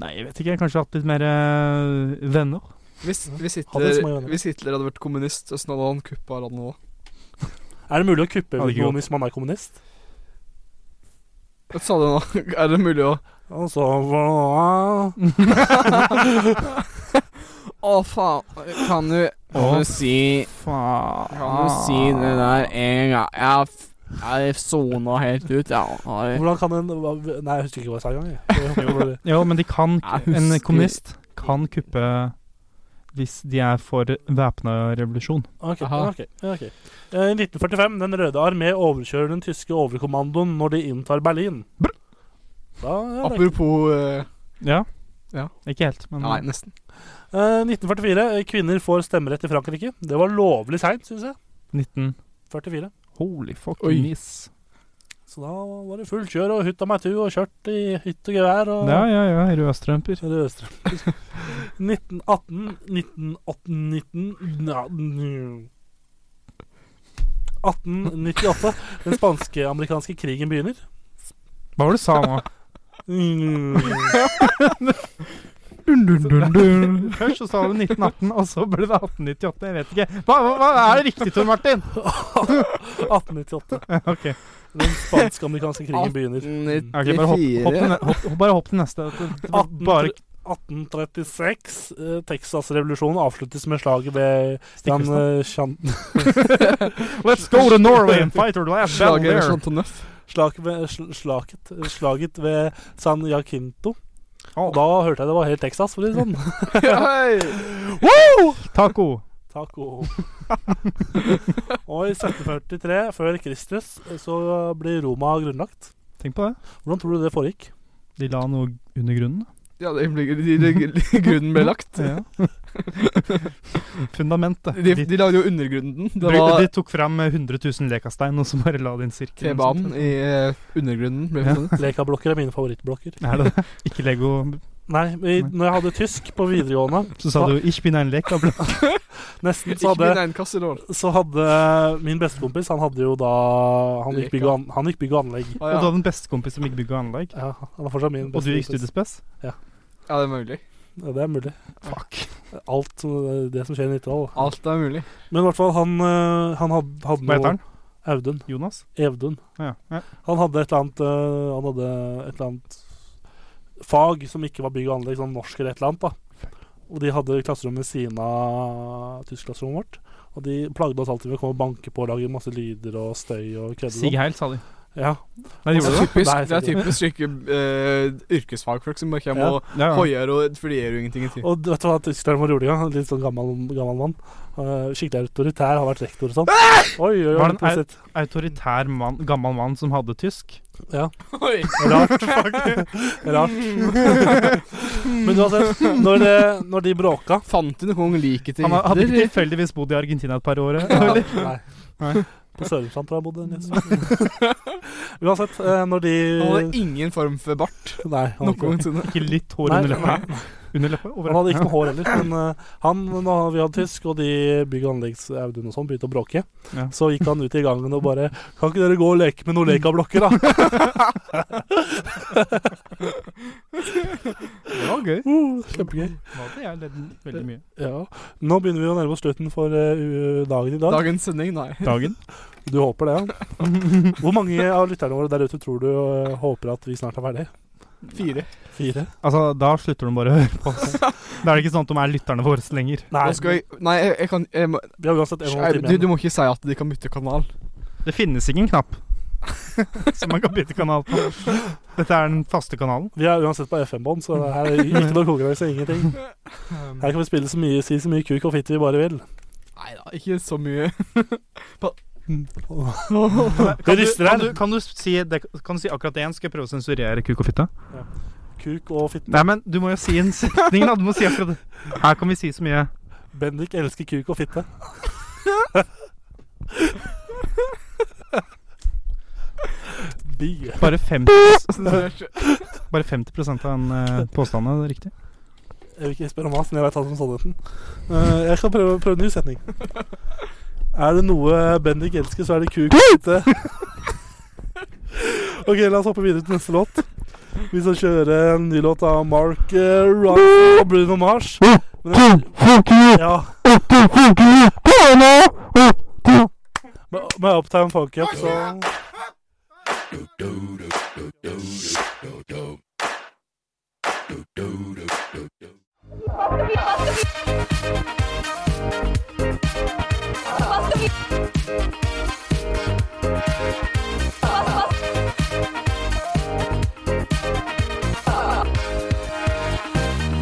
S3: Nei, jeg vet ikke. Jeg har kanskje hatt litt mer eh, venner.
S4: Hvis, hvis,
S2: Hadde ikke så mange
S4: Hitler,
S2: venner.
S4: hvis Hitler hadde vært kommunist, så hadde han kuppa landet òg.
S2: Er det mulig å kuppe
S3: Ja, det er
S2: noen hvis man er kommunist?
S4: Sa du nå? Er det mulig å
S2: Altså, hva
S4: Å, faen. Kan du
S3: Å,
S4: si
S3: Faen.
S4: en gang? Jeg sona helt ut, jeg.
S2: Hvordan kan en hva- Nei, jeg husker ikke hva jeg sa engang. jeg. Jo, bare-
S3: Jo, men de kan
S4: Jeg
S3: En
S4: husker-
S3: kommunist kan kuppe hvis de er for væpna revolusjon.
S2: Ok,
S4: Aha.
S2: ok, ok. Eh, I 1945 Den røde armé overkjører den tyske overkommandoen når de inntar Berlin.
S3: Brr.
S2: Da er det
S4: Apropos eh,
S3: Ja.
S4: Ja.
S3: Ikke helt, men
S4: Nei, nesten.
S2: Eh, 1944 Kvinner får stemmerett i Frankrike. Det var lovlig seint, syns jeg.
S3: 19
S2: 44.
S3: Holy fuck
S4: Oi.
S3: miss.
S2: Så da var det fullt kjør og hutta meg tu og kjørt i hytt og gevær. Og
S3: Ja, ja, ja. Rødstrømper.
S2: Rødstrøm. 1918 1918 1898. Den spanske-amerikanske krigen begynner.
S3: Hva var det du sa nå? Først så sa du 1918, og så ble det 1898. Jeg vet ikke. Hva, hva, hva er det riktig, Tor Martin?
S2: 1898.
S3: Ok,
S2: Den spansk-amerikanske krigen begynner.
S3: ok, bare hopp, hopp, til, ne- hopp, bare hopp til neste. Det var Bare
S2: 1836. eh, Texas-revolusjonen avsluttes med slaget ved Jan
S3: Stiklestad.
S2: eh, Chan-
S3: Let's go to Norway and fight our last battle
S4: Slaget
S3: there.
S4: Chantoneuf.
S2: slaget ved, sl- slaget, eh, slaget ved San Jacinto.
S3: Å,
S2: Og da hørte jeg det var helt Texas, for å si det sånn.
S3: Taco.
S2: Taco. og i 1743, før Kristus, eh, så blir Roma grunnlagt.
S3: Tenk på det.
S2: Hvordan tror du det foregikk?
S3: De la noe under grunnen.
S4: Ja, det ble, de, de, grunnen ble lagt.
S3: Ja. Mm, Fundamentet.
S4: De,
S3: De,
S4: de lagde jo undergrunnen. Det
S3: bru-
S4: var
S3: de tok fram eh, 100 000 lekastein, og så bare la det i en sirkel.
S4: T-banen i eh, undergrunnen. ble sånn.
S3: Ja.
S4: funnet.
S2: Lekablokker er mine favorittblokker.
S3: Er det det? Ikke Lego.
S2: Nei, i, når jeg hadde tysk på videregående,
S3: Så sa du 'ich bin ein lek'. da ble-
S2: nesten, så
S4: Ikke min
S2: hadde,
S4: egen kasse, da.
S2: så hadde eh, min bestekompis Han hadde jo da Han gikk bygg og, an, han gikk bygg og anlegg.
S4: Ah,
S3: Og du
S4: ja.
S3: hadde en bestekompis som gikk bygg og anlegg.
S2: Ja, han var fortsatt min
S3: Og du gikk
S2: bestekompis.
S3: studiespes.
S4: ja, det er mulig.
S2: Ja, det er mulig.
S3: Fuck.
S2: Alt som- det som skjer i 90-tall.
S4: Alt er mulig.
S2: Men i hvert fall, han, eh, han hadde, hadde
S3: Hva heter han?
S2: Audun.
S3: Jonas?
S2: Evdun.
S3: Ja. ja.
S2: Han hadde et eller annet øh, Han hadde et eller annet fag som ikke var bygg og anlegg, sånn norsk eller et eller annet. da Og de hadde klasserom ved siden av tyskklasserommet vårt. Og de plagde oss alltid med å komme og banke på og lage masse lyder og støy og kødde.
S3: Sig
S2: sånn.
S3: Heil, sa de.
S2: Ja.
S3: Nei, de
S4: Det
S3: gjorde
S4: er
S3: det.
S4: typisk,
S2: Nei,
S4: det er typisk slike eh, yrkesfagfolk som bare kommer
S2: Ja.
S4: og
S3: Ja, ja.
S4: hoier og For de gjør jo ingenting i tid.
S2: Og vet du hva tyskeren vår gjorde en gang? Litt sånn gammel, gammel mann. Øh, skikkelig autoritær, har vært rektor og sånn. Oi, oi, oi.
S3: Var det en
S2: Prosit.
S3: Autoritær mann, gammel mann som hadde tysk.
S2: Ja.
S4: Oi.
S2: Rart. Rart. Men uansett, når, det, når de bråka
S4: Fant du noen likheter?
S3: Han
S4: i
S3: hadde
S4: Hitler?
S3: ikke tilfeldigvis bodd i Argentina et par år.
S2: Ja,
S3: eller?
S2: Nei.
S3: Nei.
S2: På Sørumsand tror jeg jeg bodde. Nils. Uansett, eh, når de
S4: Han hadde ingen form for bart
S2: Nei, han, hadde ikke-
S4: noensinne.
S3: Ikke litt hår
S2: Nei,
S3: under leppa?
S2: nei.
S3: Under leppa? Over
S2: han hadde ikke noe hår heller. Men eh, han, når vi hadde tysk, og de bygg- og anleggsaudun og sånn begynte å bråke,
S3: Ja.
S2: så gikk han ut i gangen og bare Kan ikke dere gå og leke med noen lekablokker, da?
S3: Det var gøy.
S2: Uh, Kjempegøy.
S3: Nå hadde jeg ledd veldig mye.
S2: Ja. Nå begynner vi å nærme oss slutten for eh, u- dagen i dag.
S4: Dagens sending, nei.
S3: Dagen?
S2: Du håper det, ja? Hvor mange av lytterne våre der ute tror du eh, håper at vi snart er ferdig?
S4: Fire.
S2: Fire?
S3: Altså, da slutter de bare å høre på oss. Da er det ikke sånn at de er lytterne våre lenger.
S2: Nei,
S4: Nå skal jeg, nei, jeg, jeg kan jeg må,
S2: vi har uansett en og en halv
S4: Skjerm,
S2: time
S4: du,
S2: igjen.
S4: du må ikke si at de kan bytte kanal.
S3: Det finnes ingen knapp som man kan bytte kanal på. Dette er den faste kanalen.
S2: Vi er uansett på FM-bånd, så det her er ikke noe konkurranse, ingenting. Her kan vi spille så mye, si så mye kuk og fitte vi bare vil.
S4: Nei da, ikke så mye.
S3: Kan du,
S2: rister
S3: kan
S2: her.
S3: du, kan du, si, det, kan du si akkurat én? Skal jeg prøve å sensurere kuk og fitte?
S2: Kuk og fitte.
S3: Nei, men du må jo si en setning, da. Du må si akkurat det. Her kan vi si så mye.
S2: Bendik elsker kuk og fitte. Bi.
S3: Bare 50, bare 50 av den eh, påstanden er riktig.
S2: Jeg vil ikke spørre om hva, siden jeg vet alt om sannheten. Eh, jeg kan prøve, prøve en ny setning. Er det noe Bendik elsker, så er det kuk og fitte. ok, la oss hoppe videre til neste låt. Vi skal kjøre en ny låt av Mark uh, Ronson og Bruno Mars. Men, ja. Med, med Uptime Funk Up, så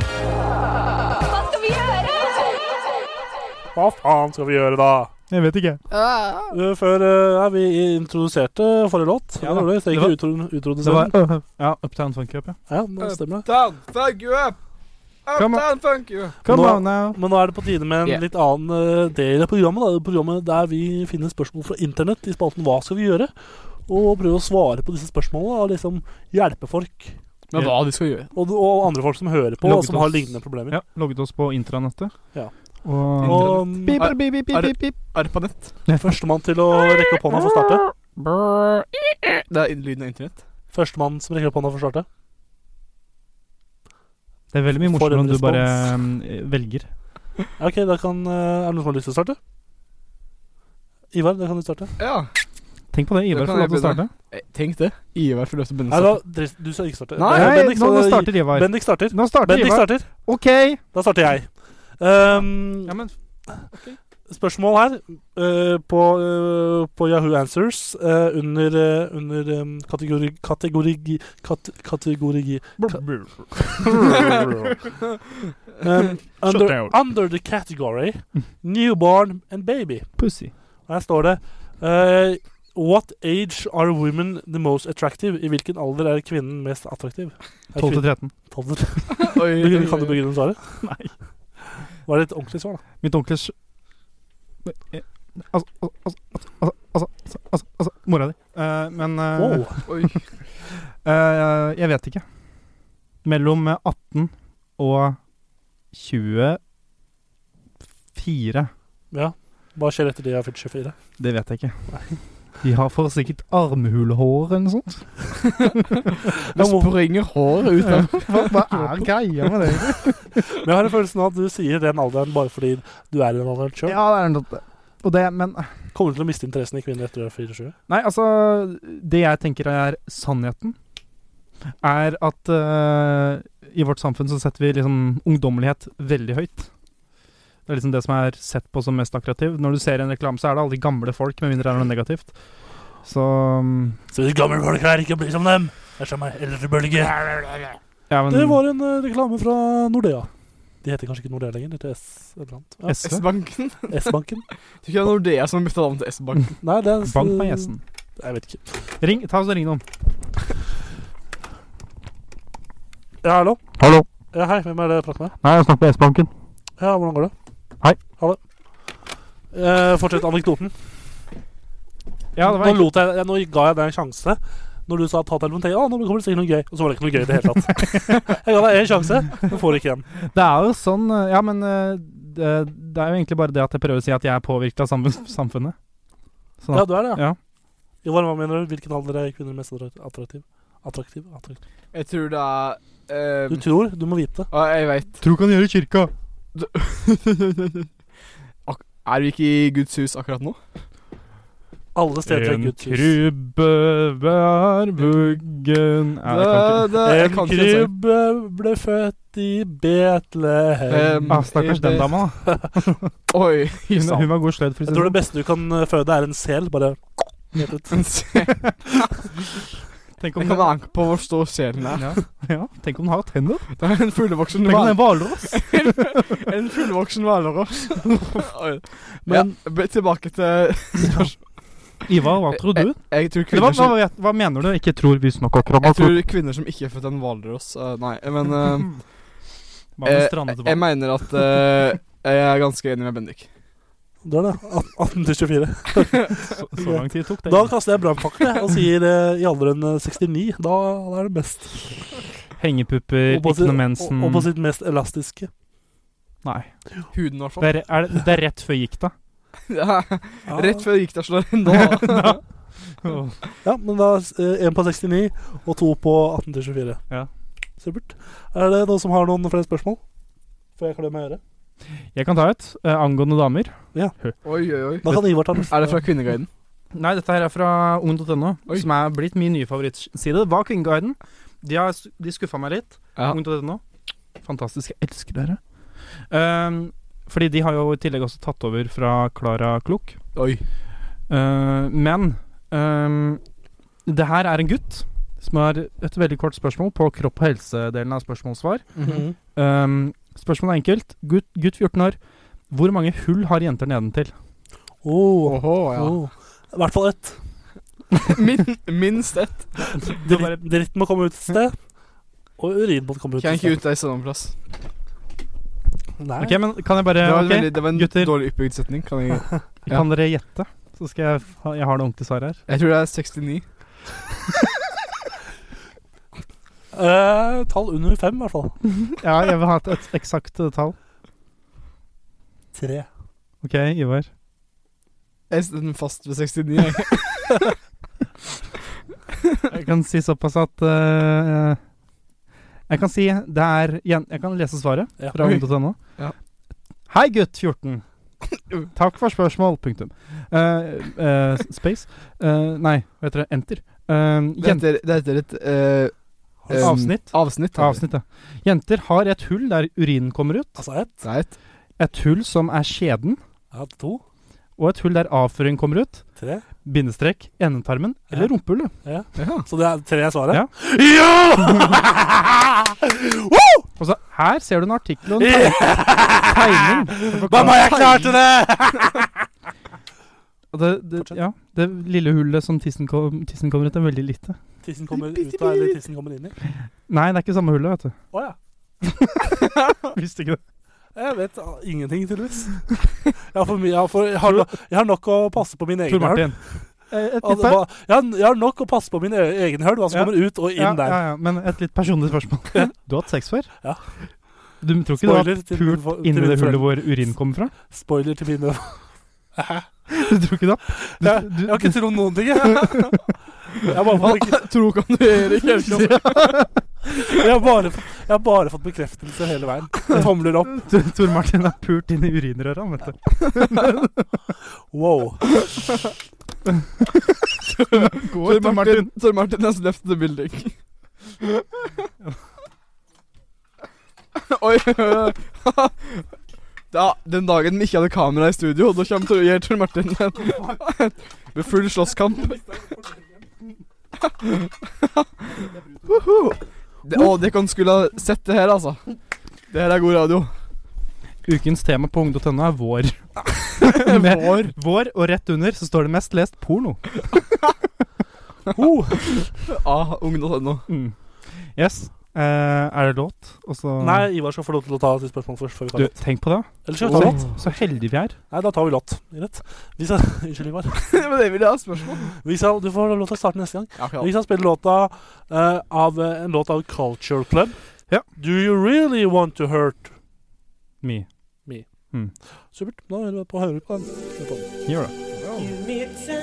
S6: Hva skal vi gjøre?
S2: Hva faen skal vi gjøre da?
S3: Jeg vet ikke.
S2: Eh, Før eh, ja, vi introduserte forrige låt.
S3: Ja
S2: Ja,
S3: da.
S2: det, det,
S3: Det
S2: ikke
S3: var-
S2: utro-
S3: Det
S2: utrodusere
S3: var
S2: den.
S3: ja, Uptown Funk Cup, ja.
S2: Ja, det stemmer. det.
S4: Down, fuck you up!
S3: Come on.
S4: Uptown, fuck you!
S3: Come
S2: Nå-
S3: on now.
S2: Men nå er det på tide med en
S4: Yeah.
S2: litt annen eh, del av programmet. Da. Det er Programmet der vi finner spørsmål fra internett i spalten 'Hva skal vi gjøre?' Og prøver å svare på disse spørsmålene og liksom hjelpe folk.
S4: Men hva de skal gjøre?
S2: Og, og andre folk som hører på, og
S3: Logget
S2: som har
S3: oss.
S2: lignende problemer.
S3: Ja, Logget oss på intranettet.
S2: Ja.
S3: Og
S2: Og mm,
S3: Pip,
S4: Er-
S3: pip, pip,
S4: er-
S3: pip, pip.
S4: Arpanett.
S2: førstemann til å rekke opp hånda får starte.
S4: Det er lyden av internett.
S2: Førstemann som rekker opp hånda får starte.
S3: Det er veldig mye
S2: For en
S3: morsommere om du bare
S2: respons.
S3: mm, velger.
S2: Ja, Ok, da kan eh, Er det noen som har lyst til å starte? Ivar, da kan du starte.
S4: Ja.
S3: Tenk på det.
S4: Da
S3: Ivar
S4: kan
S3: får lov til å
S4: jeg
S3: starte.
S4: Eh, Tenk det. Ivar får løse
S2: Nei, da,
S4: bønnestokken.
S2: Dres- du skal ikke starte.
S4: Nei,
S2: Eh,
S3: Nei,
S2: Bendik,
S3: nå, nå
S2: så-
S3: starter Ivar.
S2: Bendik starter.
S3: Nå starter
S2: Bendik
S3: Ivar.
S2: starter.
S3: OK!
S2: Da starter jeg. Ehm,
S3: Ja, men
S2: spørsmål her eh, på, eh, på Yahoo Answers eh, under, eh, under em, kategori... kategori... kat, kategori em, eh, under,
S3: down.
S2: under the category newborn and baby.
S3: pussy.
S2: Og her står det eh, What age are women the most attractive? I hvilken alder er kvinnen mest attraktiv? Er
S3: 12 til 13.
S2: kvin- 12 til 13.
S4: Oi, oi,
S2: Begynner- Kan du
S4: oi.
S2: begrunne svaret?
S3: Nei.
S2: Var det et ordentlig svar, da?
S3: Mitt onkels Eh, Altså, altså, altså, altså, altså, altså, altså Mora di. Eh, men eh,
S2: Wow.
S4: Oi.
S3: Eh, jeg vet ikke. Mellom 18 og 24
S2: Ja. Hva skjer etter de har fylt 24?
S3: Det vet jeg ikke. De har for sikkert armhulehår eller noe sånt.
S4: Det springer håret ut av
S3: Hva, hva er greia med det?
S2: Men jeg har en følelse av at du sier den alderen bare fordi du er i den alderen sjøl.
S3: Ja, det er noe Og det, men
S2: Kommer du til å miste interessen i kvinner etter du er 24?
S3: Nei, altså Det jeg tenker er sannheten, er at eh, i vårt samfunn så setter vi liksom ungdommelighet veldig høyt. Det er liksom det som er sett på som mest attraktiv. Når du ser en reklame, så er det aldri gamle folk, med mindre det er noe negativt. Så mm,
S2: Så de gamle folk her ikke blir som dem! Det er som meg,
S3: ja, men,
S2: Det var en eh, reklame fra Nordea. De heter kanskje ikke Nordea lenger, de heter S et eller annet.
S3: SV.
S4: S-banken. Tror
S2: Ja. S-banken?
S4: ikke det er Nordea som har bytta navn til S-banken.
S2: Nei, det er
S3: Bank meg gjesten.
S2: Jeg vet ikke.
S3: Ring, ta oss og ring dem.
S2: Ja, hallo?
S5: Hallo.
S2: Ja, hei, hvem er det jeg prater med?
S5: Nei, jeg snakker med S-banken.
S2: Ja, hvordan går det?
S5: Hei.
S2: Ha det. Eh, fortsett anekdoten.
S3: Ja, det var
S2: nå, lot jeg, nå ga jeg deg en sjanse. Når du sa ta telefonen, tenkte jeg at nå kommer det sikkert noe gøy. Og så var det ikke noe gøy i det hele tatt. jeg ga deg én sjanse, men får ikke en.
S3: Det er jo sånn eh, Ja, men eh, det, det er jo egentlig bare det at jeg prøver å si at jeg er påvirket av samfunn- samfunnet. Sånn
S2: Ja,
S3: at,
S2: du er det,
S3: ja.
S2: Jo, hva mener du? Hvilken alder er kvinner mest attrakt- attraktiv? Attraktiv? attraktiv.
S4: Jeg tror det er
S2: Du tror, du må vite.
S4: Å, jeg veit.
S3: Tro kan gjøre i kirka.
S4: Ak- Er vi ikke i Guds hus akkurat nå?
S2: Alle steder er
S3: En
S2: Guds hus.
S3: krybbe hver vuggen Nei, jeg kan ikke.
S4: det, jeg
S2: En
S4: kan ikke den sangen.
S2: krybbe ble født i Betlehem.
S4: Em,
S3: Ah, stakkars den dama. da.
S4: Oi. i
S3: Hun,
S4: salen.
S3: hun var god sløyd, for å
S2: Jeg
S3: si
S2: tror
S3: det
S2: det beste du kan eh, føde, er en sel. Bare helt ut.
S3: sånn. Tenk om
S4: Det kan
S3: den
S4: an på hvor stor selen er.
S3: ja. ja, tenk om den har tenner.
S4: Det er en fullvoksen
S3: Tenk om
S4: hval.
S3: den er hvalross.
S4: En fullvoksen hvalross. Oi.
S3: Men-
S4: ja, be- tilbake til
S3: Ivar, hva tror du?
S4: Jeg tror
S3: Eller, hva,
S4: Eh, kvinner som
S3: hva, hva mener du? Ikke tror vi snakker altså. akkurat
S4: Jeg tror kvinner som ikke er født av en hvalross eh, Nei, men eh,
S3: Hva med
S4: eh,
S3: strandet
S4: jeg
S3: hval?
S4: mener at eh, jeg er ganske enig med Bendik.
S2: Det er det. 18-24.
S3: Så, så lang tid tok det.
S2: Da kaster jeg brannfakkel jeg, og sier eh, i alderen eh, 69. Da da er det best.
S3: Hengepupper,
S2: Og på
S3: ikke
S2: sitt-
S3: noe mensen.
S2: og- og på sitt mest elastiske.
S3: Nei.
S4: Huden, i hvert
S3: Det
S4: fall.
S3: er, er, det- det er rett før gikk, da.
S4: Ja,
S2: Ja.
S4: Rett før gikk det og slår inn nå.
S2: Ja, men da én på 69 og to på 18 til 24.
S3: Ja.
S2: Supert. Er det noen som har noen flere spørsmål? Får jeg klemme øret?
S3: Jeg kan ta et eh, angående damer.
S4: Oi, oi, oi.
S2: Da kan Ivar ta den.
S4: Er det fra Kvinneguiden?
S3: Nei, dette her er fra ung.no,
S4: Oi.
S3: som er blitt min nye favorittside. Det Var Kvinneguiden. De, har s- de skuffa meg litt.
S4: Ja.
S3: Ung.no. Fantastisk. Jeg elsker dere. Ehm, fordi de har jo i tillegg også tatt over fra Klara Klok.
S4: Oi.
S3: Eh, men ehm, det her er en gutt som har et veldig kort spørsmål på kropp- og helsedelen av spørsmålssvar.
S2: Mhm.
S4: Mhm.
S3: Ehm, spørsmålet er enkelt. Gutt, gutt 14 år. Hvor mange hull har jenter nedentil?
S2: oh,
S4: Oho, ja.
S2: oh. I hvert fall ett.
S4: Min, minst ett.
S2: Dritt, dritt må komme ut et sted. Og urin må komme ut
S4: Kan
S2: et sted.
S4: ikke ut deg i samme plass.
S2: Nei.
S3: Ok, men Kan jeg bare
S4: Det var, en
S3: ok,
S4: veldig, det var en
S3: gutter.
S4: dårlig oppbygd setning. Kan jeg, ja.
S3: Kan dere gjette? Så skal jeg ha- Jeg har det ordentlig svar her.
S4: jeg tror det er 69.
S2: Eh, tall under fem, i hvert fall.
S3: Ja, jeg vil ha et, et eksakt eh, tall.
S2: Tre.
S4: Eh,
S3: OK, Ivar.
S4: Jeg setter den fast ved 69. Jeg.
S3: Jeg kan si såpass at eh, Jeg kan si det er jen- Jeg kan lese svaret.
S2: Ja.
S3: fra ung.no.
S4: Ja.
S3: Hei, gutt 14. Takk for spørsmål. Punktum. Eh, eh, space Eh, Nei, hva heter det? Enter. Eh,
S4: Det
S3: jen-
S4: heter, det heter et eh,
S3: Et
S4: em,
S3: avsnitt?
S4: Avsnitt. heter det.
S3: avsnitt, ja. Jenter har et hull der urinen kommer ut.
S2: Altså ett.
S4: Nei, et-
S3: Et hull som er skjeden,
S2: Ja, to.
S3: og et hull der avføring kommer ut.
S2: Tre.
S3: Bindestrek endetarmen eller
S2: Ja.
S3: rumpehullet.
S4: Ja.
S2: Så det er tre er svaret?
S3: Ja.
S2: Ja!
S3: Og så her ser du en artikkel og en
S2: Ja!
S3: tegning.
S2: Mamma, jeg klarte det!
S3: Og det, det, ja, det lille hullet som tissen, kom, tissen kommer ut, er veldig lite.
S2: Tissen kommer ut av, eller tissen kommer inn i.
S3: Nei, det er ikke samme hullet, vet du.
S2: Å ja.
S3: Visste ikke det.
S2: Jeg vet ah, ingenting, tydeligvis. Jeg har, for mye, jeg, har for, jeg, har, no- jeg har nok å passe på min
S3: Tor
S2: egen høl.
S3: Martin. Eh, Et
S2: Altså,
S3: litt,
S2: hva- jeg, har- jeg har nok å passe på min e- egen høl, hva som
S3: Ja.
S2: kommer ut og inn
S3: ja,
S2: der.
S3: ja, ja, men et litt personlig spørsmål. Du har hatt sex før?
S2: Ja.
S3: Du tror ikke
S2: Spoiler
S3: du
S2: til
S3: har
S2: mine
S3: pult
S2: fo- til
S3: inn i
S2: mine
S3: det hullet
S2: foreldre.
S3: hvor urin kommer fra?
S2: Spoiler til mine
S3: Du tror ikke det? Du,
S2: Jeg,
S3: du,
S2: jeg har ikke trodd noen ting, jeg. Jeg har bare fått, bekre-
S4: Tro kan du gjøre i kirka.
S2: jeg har bare, fått- jeg har bare fått bekreftelse hele veien. Jeg Tomler opp.
S3: Tor- Tor Martin er pult inn i urinrøra, han, vet du.
S2: Wow.
S4: Tor Martin, Tor Martin has left the building. Oi. Da, den dagen vi ikke hadde kamera i studio, da kommer Tor, gir Tor Martin en med full slåsskamp. Uhu. Det, å, det kan skulle ha sett det her, altså. Det her er god radio.
S3: Ukens tema på ung.no er vår. Med
S4: Vår.
S3: vår, og rett under så står det mest lest porno.
S4: Ah, ung.no.
S3: Mm. Yes. Eh, er det låt? Og så
S2: Nei, Ivar skal få lov til å ta sitt spørsmål først. før vi tar
S3: Du,
S2: låt.
S3: tenk på det.
S2: Eller skal vi ta låt?
S3: Så heldige vi er.
S2: Nei, da tar vi låt. Rett. Vi skal, unnskyld, Ivar.
S4: Men det vil jeg ha spørsmål
S2: Vi skal, du får lov til å starte neste gang.
S4: ja,
S2: Vi skal spille låta eh, av eh, en låt av Culture Club.
S3: Ja.
S2: Do you really want to hurt?
S3: Me.
S2: Supert. Da hører vi på, hører vi på den. Hører vi på den.
S3: Gjør det.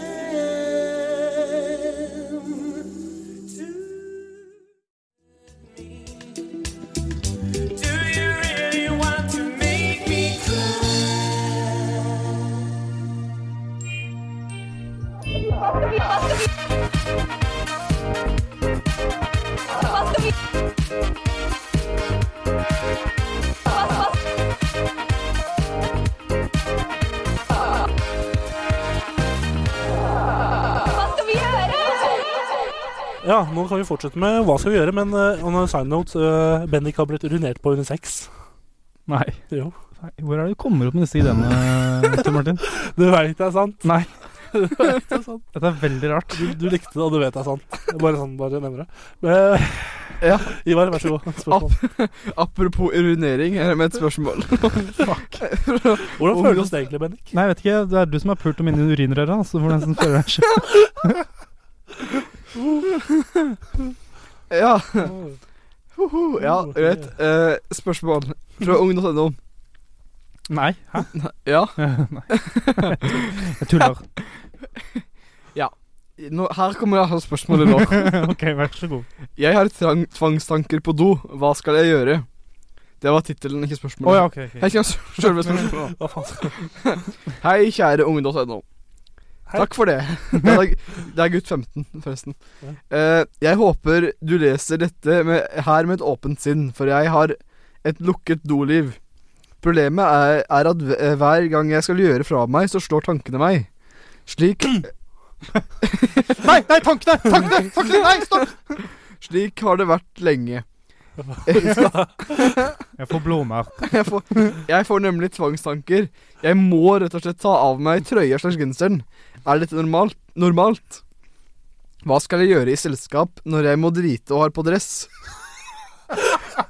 S6: Hva skal vi gjøre?
S2: Ja, nå kan vi fortsette med hva skal vi gjøre, men eh, on a side note eh, Bendik har blitt urinert på under sex.
S3: Nei.
S2: Jo,
S3: Nei, Hvor er det du kommer opp med disse ideene, Tor Martin?
S2: du veit det er sant.
S3: Nei.
S2: Du vet det er sant.
S3: Dette er veldig rart.
S2: Du, du likte det, og du vet det er sant. Det er Bare sånn, bare nevner det. Men,
S4: Ja.
S2: Ivar, vær så god. Spørsmål.
S3: Ah.
S4: Apropos urinering, her er med et spørsmål.
S3: Oh,
S2: Hvordan føles det egentlig, Bendik?
S3: Nei, jeg vet ikke. Det er du som har pult om inni urinrøra. Så hvordan som føler jeg seg
S4: Ja, hoho, ja greit. Eh, spørsmål fra ung.no.
S3: Nei. Hæ?
S4: Ja,
S3: Nei. Jeg tuller.
S4: nå, her kommer jeg ha spørsmålet nå.
S3: OK, vær så god.
S4: Jeg har trang, tvangstanker på do. Hva skal jeg gjøre? Det var tittelen, ikke
S3: Å
S4: spørsmålet.
S3: ja, OK. ok.
S4: Her kommer selve spørsmålet.
S2: Hva faen skal
S4: Hei, kjære unge.no.
S2: Hei.
S4: Takk for det. Det er, det er gutt 15, forresten. Eh, jeg håper du leser dette med, her med et åpent sinn, for jeg har et lukket doliv. Problemet er, er at hver- hver gang jeg skal gjøre fra meg, så slår tankene meg. Slik
S3: Nei, nei, tankene! Tankene!
S4: Tankene, nei, stopp! Slik har det vært lenge.
S3: Jeg får blåmerker.
S4: Jeg får, jeg får nemlig tvangstanker. Jeg må rett og slett ta av meg trøya slags genseren. Er dette normalt? normalt? Hva skal jeg gjøre i selskap når jeg må drite og har på dress?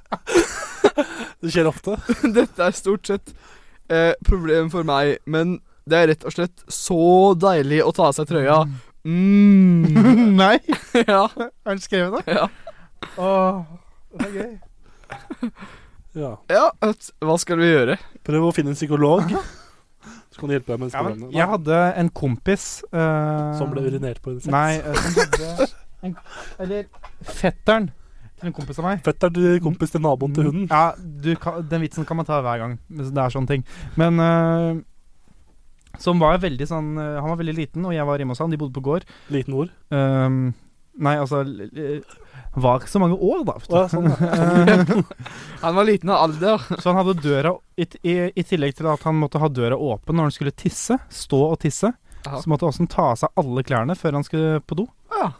S2: Det skjer ofte.
S4: Dette er stort sett eh, problem for meg, men det er rett og slett så deilig å ta av seg trøya. Mm.
S3: Nei!
S4: Ja.
S3: Er det skrevet det?
S4: Ja.
S3: Åh, det er gøy.
S2: Ja.
S4: ja, vet- hva skal vi gjøre?
S2: Prøv å finne en psykolog, så kan du hjelpe deg med
S3: Ja, men
S2: skolen.
S3: jeg hadde en kompis eh,
S2: Som ble urinert på under sex.
S3: Nei, eh, som hadde en, Eller fetteren til en kompis av meg.
S2: Fetteren til kompis til naboen til hunden.
S3: Ja, du, kan- Den vitsen kan man ta hver gang hvis det er sånne ting. Men eh, som var veldig sånn eh, Han var veldig liten, og jeg var hjemme hos han. De bodde på gård.
S2: Liten ord.
S3: Ehm, nei, altså l- l- Var ikke så mange år, da. vet du.
S2: Å, ja, sånn,
S4: Han var liten av alder.
S3: Så han hadde døra i, t- i, I tillegg til at han måtte ha døra åpen når han skulle tisse, stå og tisse,
S4: Aha.
S3: så måtte han også ta av seg alle klærne før han skulle på do.
S4: Ja.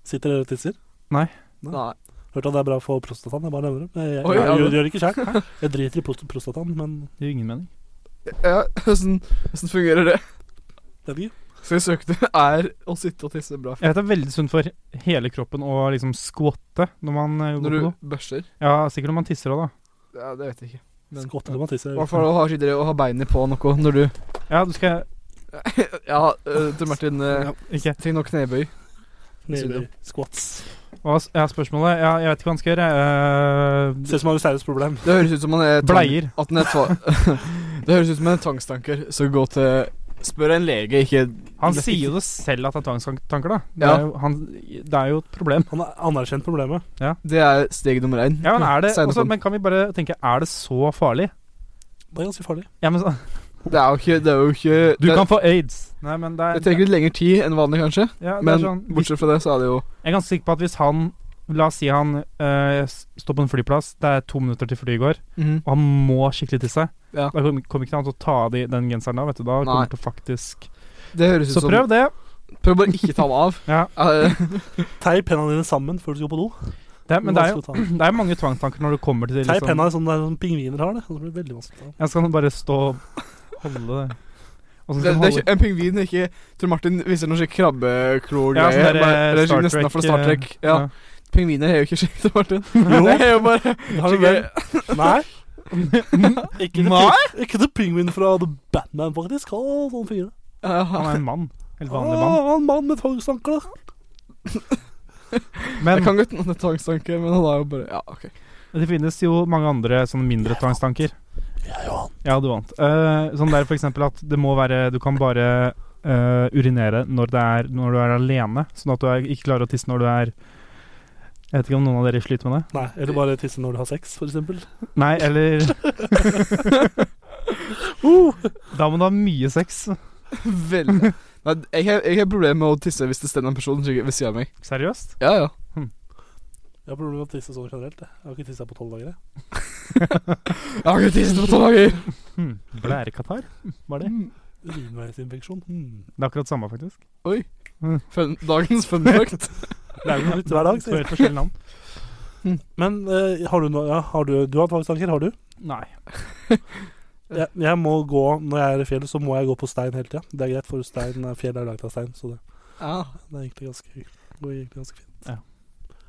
S2: Sitter dere og tisser?
S4: Nei.
S2: Hørte at det er bra for prostataen. Jeg bare nevner det. Jeg, jeg,
S4: Oi,
S2: jeg, gjør-
S4: ja, det-
S2: gjør det ikke sjøl. Jeg driter i prost prostataen, men
S3: Det gir ingen mening.
S4: Ja, hvordan, hvordan fungerer det?
S2: det er ikke.
S4: Skal vi søke det? Er å sitte og tisse bra? for-
S3: Jeg vet det er veldig sunt for hele kroppen å liksom skvatte når man eh, går
S4: Når
S3: på
S4: du
S3: do.
S4: bæsjer?
S3: Ja, sikkert når man tisser òg, da.
S4: Ja, det vet jeg ikke. Men-
S2: Skvatter når man tisser.
S4: I hvert fall å ha skikkelig å ha beinet på noe når du
S3: Ja, du skal
S4: Ja, eh, til Martin eh,
S3: ja, Ikke
S4: Ting noe knebøy.
S2: Nede i Squats.
S3: Hva s- ja, spørsmålet? Ja, jeg vet ikke hva han skal gjøre. Eh,
S2: Ser ut som han har et seriøst problem.
S4: Det høres ut som han er tvang-
S3: Bleier.
S4: At han er tva det høres ut som en tvangstanker. Så gå til Spør en lege, ikke
S3: han
S4: Det-
S3: sier jo det selv at det er tvangstanker, da. Det,
S4: Ja.
S3: er jo, han, det er jo et problem.
S2: Han har anerkjent problemet.
S4: Det er steg nummer én.
S3: Ja, men, er det,
S4: Sign up
S3: også,
S4: on.
S3: men kan vi bare tenke Er det så farlig?
S2: Det er ganske farlig.
S3: Ja, men, så-
S4: Det er jo ikke Det er jo ikke
S3: du
S4: det,
S3: kan få aids. Nei, men det er,
S4: det trenger litt lengre tid enn vanlig, kanskje.
S3: ja, det
S4: Men
S3: er sånn, hvis,
S4: bortsett fra det, så er det jo
S3: Jeg er ganske sikker på at hvis han La oss si han eh, s- står på en flyplass, det er to minutter til flyet går,
S4: Mhm.
S3: og han må skikkelig tisse.
S4: Ja.
S3: Da kom- kommer ikke han til å ta av de, den genseren da, vet du. Da kommer
S4: Nei.
S3: han til å faktisk
S4: Det høres ut
S3: Så
S4: som
S3: prøv det.
S4: Prøv bare ikke ta den av.
S3: Ja.
S4: Eh,
S2: Teip hendene dine sammen før du skal på do.
S3: det er- men det er jo
S2: Vanskelig å ta.
S3: det er mange tvangstanker når det kommer til
S2: Teip
S3: liksom,
S2: hendene sånn der som pingviner har det. Det blir veldig vanskelig. å ta.
S3: Jeg skal han bare stå og holde det. Og så skal han
S4: det, det er
S3: holde
S4: ikke, en pingvin er ikke Tror Martin viser noen sånn krabbeklor
S3: ja, sånn
S4: bare-
S3: der,
S4: eller
S3: eh, Star
S4: nesten
S3: Trek,
S4: fra Star Trek.
S3: eh,
S4: Ja.
S3: ja.
S4: Pingviner er jo ikke skikkelig, Martin.
S2: Jo.
S4: Det er jo bare
S2: Har du vel? Nei. Ikke det,
S4: Nei?
S2: ping- ikke det pingvin fra The Batman, faktisk. Å, sånn fyr.
S4: Ja,
S3: Han er
S4: han er-
S3: en mann. Helt vanlig mann.
S2: Å, en mann med tvangstankler.
S4: Jeg
S3: Men
S4: kan godt noen tvangstanker, men han er jo bare Ja, OK.
S3: det finnes jo mange andre sånne mindre tvangstanker.
S2: Ja, ja.
S3: Ja, du vant. Eh, sånn der for eksempel at det må være Du kan bare eh, urinere når, det er, når du er alene, sånn at du er, ikke klarer å tisse når du er Jeg vet ikke om noen av dere sliter med det?
S2: Nei, eller bare tisse når du har sex, for eksempel.
S3: Nei, eller
S2: Uh,
S3: Da må du ha mye sex.
S4: Vel Nei, jeg har, jeg har problemer med å tisse hvis det står en person ved siden av meg.
S3: Seriøst?
S4: Ja, ja.
S2: jeg har problemer med å tisse sånn generelt. jeg. Jeg har ikke tissa på tolv dager. jeg.
S4: Jeg har ikke tisset på to dager!
S3: Hmm. Blærekatarr? Var det?
S2: Urinveisinfeksjon. Hmm.
S3: Det er akkurat samme, faktisk.
S4: Oi.
S3: Mm.
S4: Fun, dagens fun fact.
S2: Det er jo litt hver dag.
S3: Så
S2: Så.
S3: helt forskjellige navn.
S2: Men eh, har du noe ja, har du, du har tvangstanker, har du?
S3: Nei.
S2: Jeg, jeg må gå, Når jeg er i fjell, så må jeg gå på stein hele tida. Det er greit, for stein, eh, fjell er laget av stein. Så det,
S4: Ja.
S2: det er egentlig ganske, går egentlig ganske fint.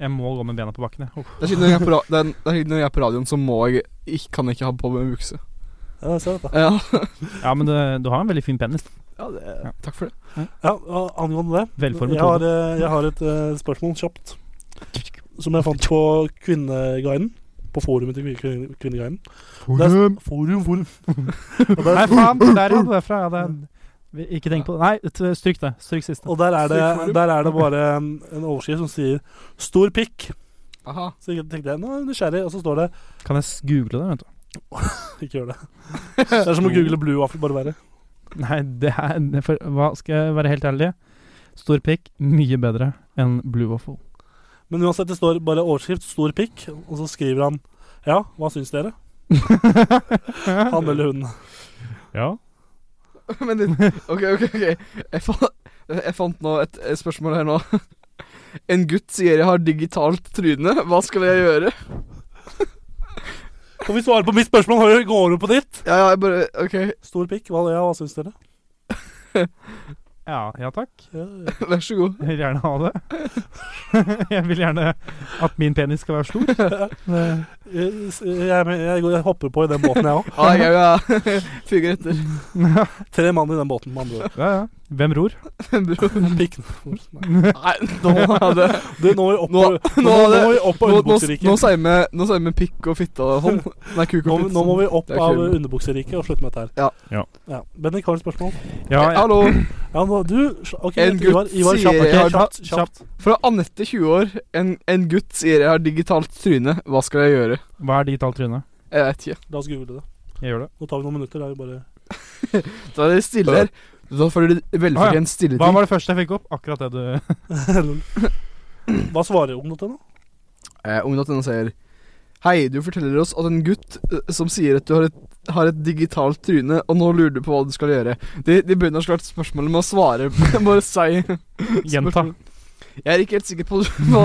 S3: Jeg må gå med bena på bakken, jeg. Uff.
S4: Det er siden jeg er på, ra- det er, det er siden jeg er på radioen, så må jeg ikke, kan jeg ikke ha på meg bukse.
S2: Ja, jeg ser dette.
S4: Ja.
S3: Ja, men det, du har en veldig fin penis.
S4: ja, det, takk for det.
S2: Ja, og angående det
S3: Velformet
S2: jeg har,
S3: hode.
S2: eh, jeg har et eh, spørsmål kjapt. Som jeg fant på Kvinneguiden. På forumet til Kvinne- Kvinneguiden. Det er- Forum, forum. Og
S3: Nei,
S2: der,
S3: faen! Der, ja. Derfra, ja. Det er, vi- ikke tenk på det. Nei, t- stryk det. Stryk siste.
S2: og der, er det, der er det bare um, en overskrift som sier 'stor pikk'.
S4: Aha.
S2: Så jeg tenkte jeg, nå er jeg nysgjerrig, og så står det
S3: Kan jeg s- google det, vet du?
S2: Ikke gjør det. Det er som å google blue waffle, bare verre.
S3: Nei, det er det er for, Hva skal jeg være helt ærlig? Stor pikk, mye bedre enn Blue Waffle.
S2: Men uansett, det står bare overskrift 'stor pikk', og så skriver han ja, hva syns dere? Han eller hun.
S3: ja.
S4: Men det, ok, ok, ok Jeg, fa jeg fant nå et, et spørsmål her nå En gutt sier jeg har digitalt tryne Hva skal jeg gjøre?
S2: Kan vi svare på mitt spørsmål? Har dere- Går du på ditt?
S4: Ja, ja, jeg bare, ok
S2: Stor pikk, hva, ja, hva syns dere?
S3: Ja, ja takk.
S2: Ja, ja.
S4: Vær så god
S3: Jeg vil gjerne ha det. jeg vil gjerne at min penis skal være stor.
S2: Jeg, Eh, jeg, jeg, jeg hopper på i den båten, jeg òg.
S4: Ja, jeg ja, fyger etter
S2: Tre mann i den båten, med andre ord.
S3: Ja, ja. Hvem ror?
S4: Bror.
S2: Pikk.
S4: Nei, nå er det
S2: Du, nå er vi opp på,
S4: Nå-
S2: nå,
S4: nå er det-
S2: må vi opp på
S4: Nå, nå, nå
S2: underbukseriket.
S4: sier vi Nå sier vi pikk og fitta hånd Nei, kuk
S2: Nå,
S4: og fitt
S2: nå må vi opp
S4: Det er
S2: av
S4: kul.
S2: underbukseriket og slutte med dette her.
S4: Ja.
S3: Ja.
S2: ja. Bendik, har du et spørsmål?
S3: Ja, ja.
S4: Hallo
S2: Ja, nå, du OK,
S4: En gutt
S2: Ivar, Ivar
S4: sier
S2: kjapt, ok,
S4: jeg har-
S2: kjapt, kjapt.
S4: Fra Annette 20 år en, en gutt sier jeg har digitalt tryne Hva skal jeg gjøre?
S3: Hva er digitalt tryne?
S4: Jeg vet ikke
S2: La oss google det.
S3: Jeg gjør det.
S2: Nå tar vi noen minutter. Det er jo bare
S4: Da er det stille her Da får du
S2: Ah,
S4: velfortjent stille
S3: Hva
S4: ting
S3: var det første jeg fikk opp? Akkurat det du
S2: Hva svarer ung.no?
S4: Eh, Ung.no sier Hei, du forteller oss at en gutt eh, som sier at du har et, har et digitalt tryne, og nå lurer du på hva du skal gjøre. De, de begynner snart spørsmålet med å svare. Bare si
S3: gjenta.
S4: spørsmålet. Jeg er ikke helt sikker på hva,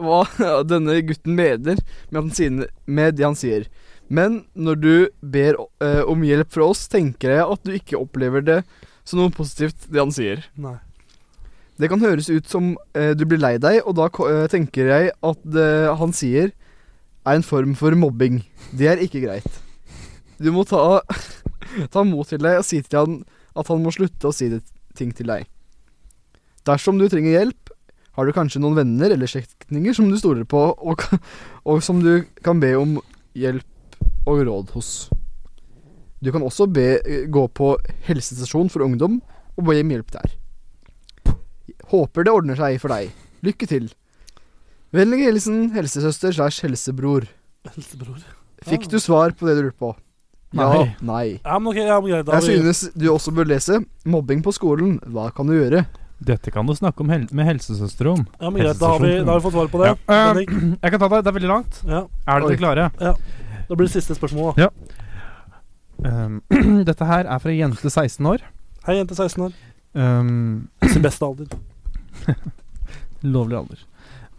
S4: hva denne gutten mener med, at han sier- med det han sier. Men når du ber eh, om hjelp fra oss, tenker jeg at du ikke opplever det som noe positivt, det han sier.
S2: Nei.
S4: Det kan høres ut som eh, du blir lei deg, og da ko- eh, tenker jeg at det han sier, er en form for mobbing. Det er ikke greit. Du må ta, ta mot til deg og si til han at han må slutte å si det, ting til deg. Dersom du trenger hjelp, har du kanskje noen venner eller slektninger som du stoler på, og, ka- og som du kan be om hjelp og råd hos. Du kan også be, eh, gå på helsestasjon for ungdom og be om hjelp der. Håper det ordner seg for deg. Lykke til. Vennlig hilsen helsesøster slash helsebror.
S2: Eldstebror.
S4: Fikk
S2: Ah.
S4: du svar på det du lurte på? Ja.
S3: Nei.
S4: Nei.
S2: Ja, men ok, ja, men greit. Da
S4: Jeg
S2: har vi-
S4: synes du også bør lese 'Mobbing på skolen'. Hva kan du gjøre?
S3: Dette kan du snakke om hel med helsesøster om.
S2: ja, men greit, da, har vi, da har vi fått svar på det.
S3: Ja.
S2: Bendik.
S3: Jeg kan ta det. Det er veldig langt.
S2: Ja.
S3: Er dere
S4: Oi.
S3: klare?
S2: Da blir det siste spørsmål, da.
S3: Um, dette her er fra jente 16 år.
S2: Hei, jente 16 år.
S3: Um,
S2: I sin beste alder.
S3: lovlig alder.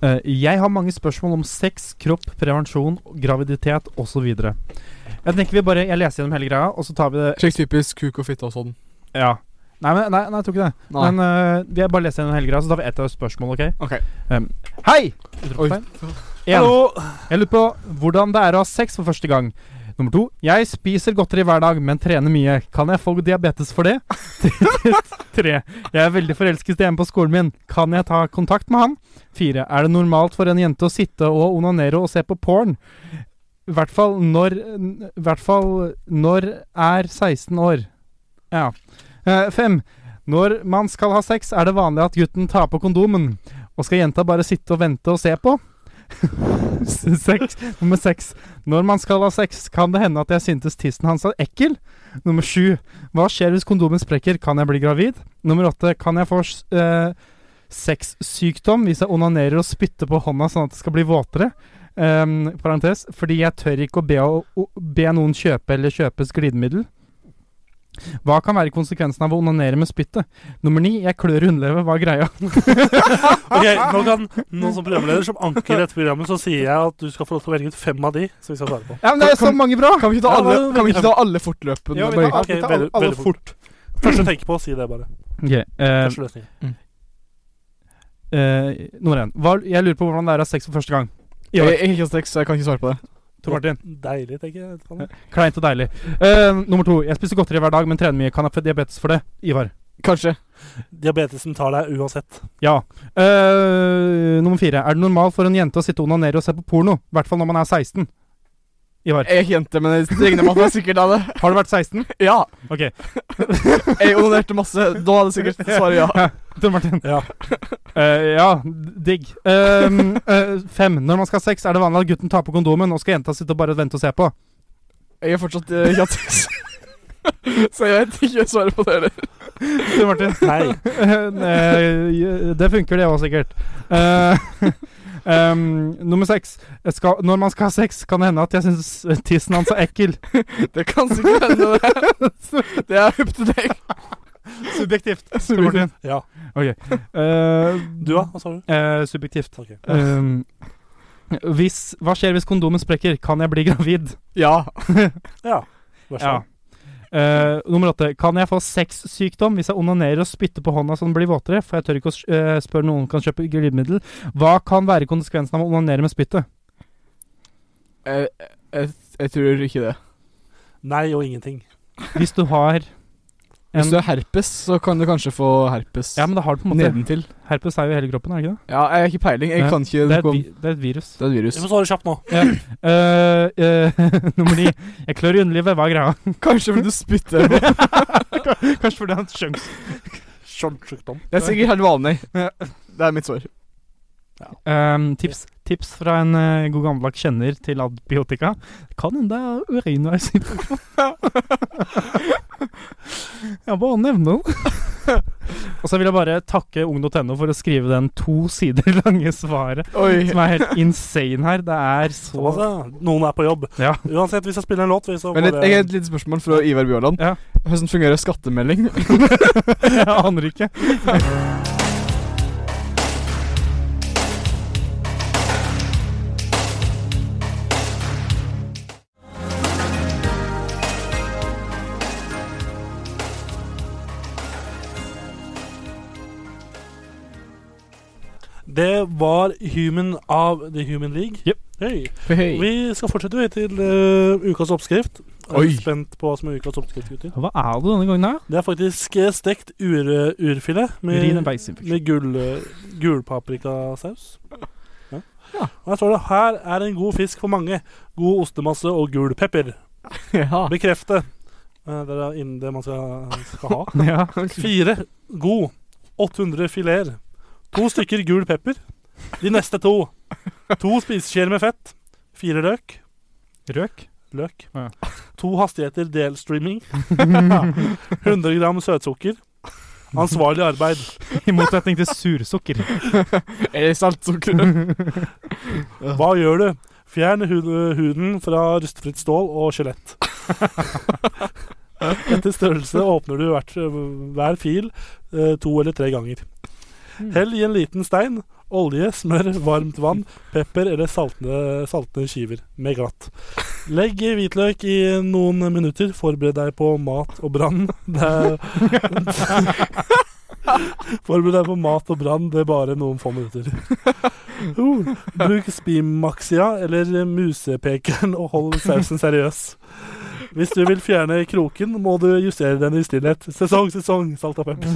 S3: Eh, jeg har mange spørsmål om sex, kropp, prevensjon, graviditet osv. Jeg tenker vi bare Jeg leser gjennom hele greia, og så tar vi det
S4: Slik typisk kuk og fitte og sånn.
S3: Ja. Nei, men, nei, nei, jeg tror ikke det.
S4: Nei.
S3: Men øh, vi har bare lest gjennom hele greia, så da får jeg ett av spørsmål, OK?
S4: Ok.
S3: Um, hei! Utropstegn. En. Jeg lurer på hvordan det er å ha sex for første gang. Nummer to. Jeg spiser godteri hver dag, men trener mye. Kan jeg få diabetes for det? Tre. Jeg er veldig forelsket i en på skolen min. Kan jeg ta kontakt med han? Fire. Er det normalt for en jente å sitte og onanere og se på porn? I hvert fall når I hvert fall når er 16 år. Ja. Eh, fem. Når man skal ha sex, er det vanlig at gutten tar på kondomen. Og skal jenta bare sitte og vente og se på? Seks. Nummer seks. Når man skal ha sex, kan det hende at jeg syntes tissen hans er ekkel. Nummer sju. Hva skjer hvis kondomen sprekker? Kan jeg bli gravid? Nummer åtte. Kan jeg få eh, sexsykdom hvis jeg onanerer og spytter på hånda sånn at det skal bli våtere? Ehm, parentes. Fordi jeg tør ikke å be, å, å be noen kjøpe eller kjøpes glidemiddel. Hva kan være konsekvensen av å onanere med spyttet? Nummer ni. Jeg klør i underlevet. Hva er greia?
S2: Ok, nå kan noen som programleder som anker dette programmet, så sier jeg at du skal få lov til å velge ut fem av de som vi skal svare på.
S3: Ja, men det er så mange bra!
S4: Kan vi ikke ta
S2: Ja,
S4: alle,
S2: men-
S4: kan vi ikke ta alle fortløpende?
S3: Ja, vi
S4: bare?
S3: tar
S2: Ok, veldig,
S3: alle
S2: veldig fort. Første tenk på, si det bare.
S3: Ok, eh,
S2: Første løsning.
S3: Eh, Norén, hva- jeg lurer på hvordan det er å ha sex for første gang.
S4: Jeg jeg har ikke sex, så jeg kan ikke svare på det.
S3: Tor Martin.
S2: Deilig, tenker jeg. Vet du hva?
S3: Kleint og deilig. Eh, nummer to. Jeg spiser godteri hver dag, men trener mye. Kan jeg få diabetes for det? Ivar.
S4: Kanskje.
S2: Diabetesen tar deg uansett.
S3: Ja. Eh, nummer fire. Er det normalt for en jente å sitte og onanere og se på porno? I hvert fall når man er 16. Ivar.
S4: Jeg er ikke jente, men jeg regner med at jeg sikkert hadde
S3: Har du vært 16?
S4: Ja!
S3: Ok.
S4: Jeg onanerte masse. Da hadde jeg sikkert svaret ja.
S3: Tor Martin.
S2: Ja.
S3: Eh, ja, digg. Um, eh, fem. Når man skal ha sex, er det vanlig at gutten tar på kondomen, og skal jenta sitte og bare vente og se på?
S4: Jeg har fortsatt eh, ikke hatt sex. Så jeg vet ikke svaret på det heller.
S3: Tor Martin.
S2: Nei.
S3: Nei, det funker det òg, sikkert. Eh, em, nummer seks. Jeg Skal, når man skal ha sex, kan det hende at jeg syns tissen hans er ekkel.
S4: Det kan sikkert hende. Det, det er up to date.
S3: Subjektivt. Tor Martin.
S2: Ja.
S3: Ok. Eh,
S2: Du, da? Hva sa du?
S3: eh, subjektivt.
S2: Ok.
S3: Em, hvis, hva skjer hvis kondomen sprekker? Kan jeg bli gravid?
S4: Ja.
S2: Ja. Vær så
S3: Ja.
S2: god.
S3: Eh, nummer åtte. Kan jeg få sexsykdom hvis jeg onanerer og spytter på hånda så den blir våtere? For jeg tør ikke å eh, spørre noen kan kjøpe glidemiddel. Hva kan være konsekvensen av å onanere med spyttet?
S4: Jeg, jeg, jeg tror ikke det.
S2: Nei og ingenting.
S3: Hvis du har
S4: Hvis
S3: en
S4: du har herpes, så kan du kanskje få herpes
S3: Ja, men da har du på en måte
S4: nedentil.
S3: Herpes er jo i hele kroppen, er det ikke det?
S4: Ja, jeg har ikke peiling. Jeg
S3: Nei,
S4: kan ikke
S3: Det er
S4: noe
S3: et,
S4: om
S3: vi, det er et virus.
S4: Det er et
S2: Du
S4: virus.
S2: får svare kjapt nå.
S3: Eh, eh, nummer ni. Jeg klør i underlivet. Hva er greia?
S4: Kanskje fordi du spytter. på-
S3: Kanskje fordi han sjungs.
S2: Skjønnsjukdom.
S4: Det er sikkert helt vanlig.
S3: Ja.
S4: Det er mitt svar.
S3: Um, tips, tips fra en eh, god gammeldags kjenner til antibiotika. Kan hende det er urinveisinfeksjon. jeg bare nevner den. Og så vil jeg bare takke ung.no for å skrive den to sider lange svaret,
S4: Oi.
S3: som er helt insane her. Det er så
S2: Thomas, ja. Noen er på jobb.
S3: Ja.
S2: Uansett, vi skal spille en låt. Vi så
S4: Men litt, jeg har et lite spørsmål fra Ivar Bjørland.
S3: Ja.
S4: Hvordan fungerer skattemelding?
S3: Jeg aner ikke.
S2: Det var Human av The Human League.
S3: Jep.
S2: Hei.
S4: Hei.
S2: Vi skal fortsette vi, til eh, ukas oppskrift. Jeg er
S4: Oi.
S2: spent på hva som er ukas oppskrift, gutter.
S3: Hva er det denne gangen, da?
S2: Det er faktisk eh, stekt ur, urfilet
S3: Urin og
S2: med,
S3: beisinfeksjon.
S2: med gull, eh, gulpaprikasaus. Ja.
S4: Ja.
S2: Og her står det 'Her er en god fisk for mange. God ostemasse og gul pepper'.
S3: Ah.
S4: Ja.
S2: Bekrefte. Eh, Det er innen det man skal, skal ha.
S3: Ja.
S2: Fire god 800 fileter. To stykker gul pepper. De neste to. To spiseskjeer med fett. Fire løk.
S3: Røk?
S2: Løk.
S3: Ja.
S2: To hastigheter delstreaming. 100 gram søtsukker. Ansvarlig arbeid.
S3: I motsetning til sursukker.
S4: Eller saltsukker.
S2: Hva gjør du? Fjern hud huden fra rustfritt stål og skjelett. Etter størrelse åpner du hvert, hver fil eh, to eller tre ganger. Hell i en liten stein, olje, smør, varmt vann, pepper eller saltne, saltne skiver med glatt. Legg hvitløk i noen minutter. Forbered deg på mat og brann. Det er- Forbered deg på mat og brann. Det er bare noen få minutter. Oh, bruk spimaxia eller musepekeren og hold sausen seriøs. Hvis du vil fjerne kroken, må du justere den i stillhet. Sesong, sesong, salt og pepper.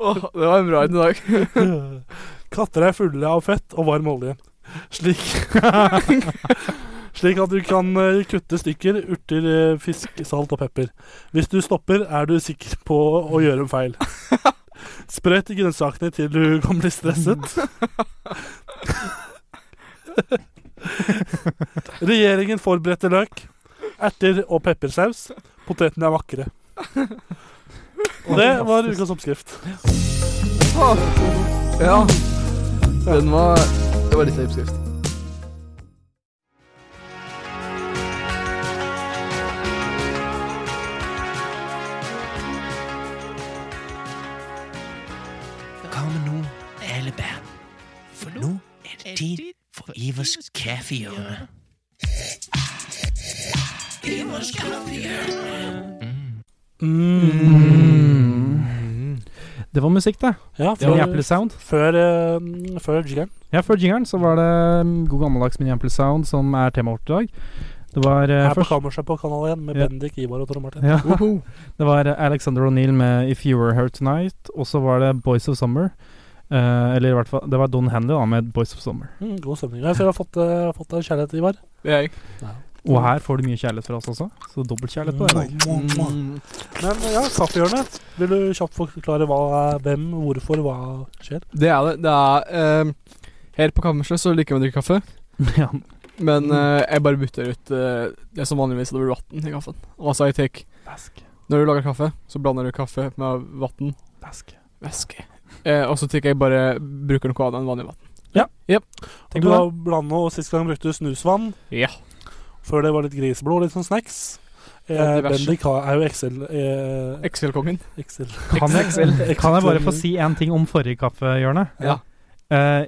S1: Åh, det var en bra en i dag.
S2: Katter er fulle av fett og varm olje. Slik Slik at du kan eh, kutte stykker urter, eh, fisk, salt og pepper. Hvis du stopper, er du sikker på å gjøre en feil. Sprøyt i grønnsakene til du kan bli stresset. Regjeringen forberedte løk, erter og peppersaus. Potetene er vakre. Og det var ukas oppskrift.
S4: Ah.
S1: Åh, Ja. Den var Det var litt av oppskrift.
S7: Kom nu, alle bær. For nu er det tid for Ivers kaffehjørne. Ivers kaffehjørne.
S3: Det var musikk, det.
S2: Ja,
S3: Det var
S2: før,
S3: Apple Sound.
S2: før, eh, før jingeren.
S3: Ja, Før jingeren så var det mm, god gammeldags Mini Apple Sound som er temaet vårt i dag. Det var eh,
S2: Her på
S3: først
S2: kammerset på Kanal 1 med
S3: Ja.
S2: Bendik, Ivar og Tore Martin.
S3: ja. Det var eh, Alexander O'Neill med If You Were Here Tonight. Og så var det Boys of Summer. Eh, eller i hvert fall Det var Don Henley da med Boys of Summer.
S2: Mm, god stemning. Jeg ser du har fått, eh, fått deg kjærlighet, Ivar.
S1: Det er jeg.
S3: Og
S2: Mm.
S3: her får du mye kjærlighet fra oss også, så dobbelt kjærlighet på deg i dag.
S1: Mm.
S2: Men eh, ja, kaffehjørnet. Vil du kjapt forklare hva, hvem, hvorfor, hva skjer?
S1: Det er det. Det er eh, Her på kammerset så liker jeg å drikke kaffe,
S3: Ja,
S1: men eh, jeg bare bytter ut eh, det som vanligvis hadde vært vann i kaffen. Altså, jeg tek
S3: Væske.
S1: Når du lager kaffe, så blander du kaffe med vann.
S3: Væske.
S1: Væske. Eh, og så tek jeg bare Bruker noe annet enn vanlig vann.
S3: Tenk
S2: du
S3: på det.
S2: har blanda, og sist gang brukte du snusvann.
S1: Ja.
S2: Før det var litt griseblod, litt sånn snacks. Eh,
S1: Ja, diverse.
S2: Bendik har- er jo Excel... Eh,
S1: Excel-kongen.
S2: Excel.
S3: Kan
S1: Excel.
S3: jeg, kan jeg bare få
S2: Mm.
S3: si en ting om forrige kaffehjørne?
S1: Ja.
S3: Eh,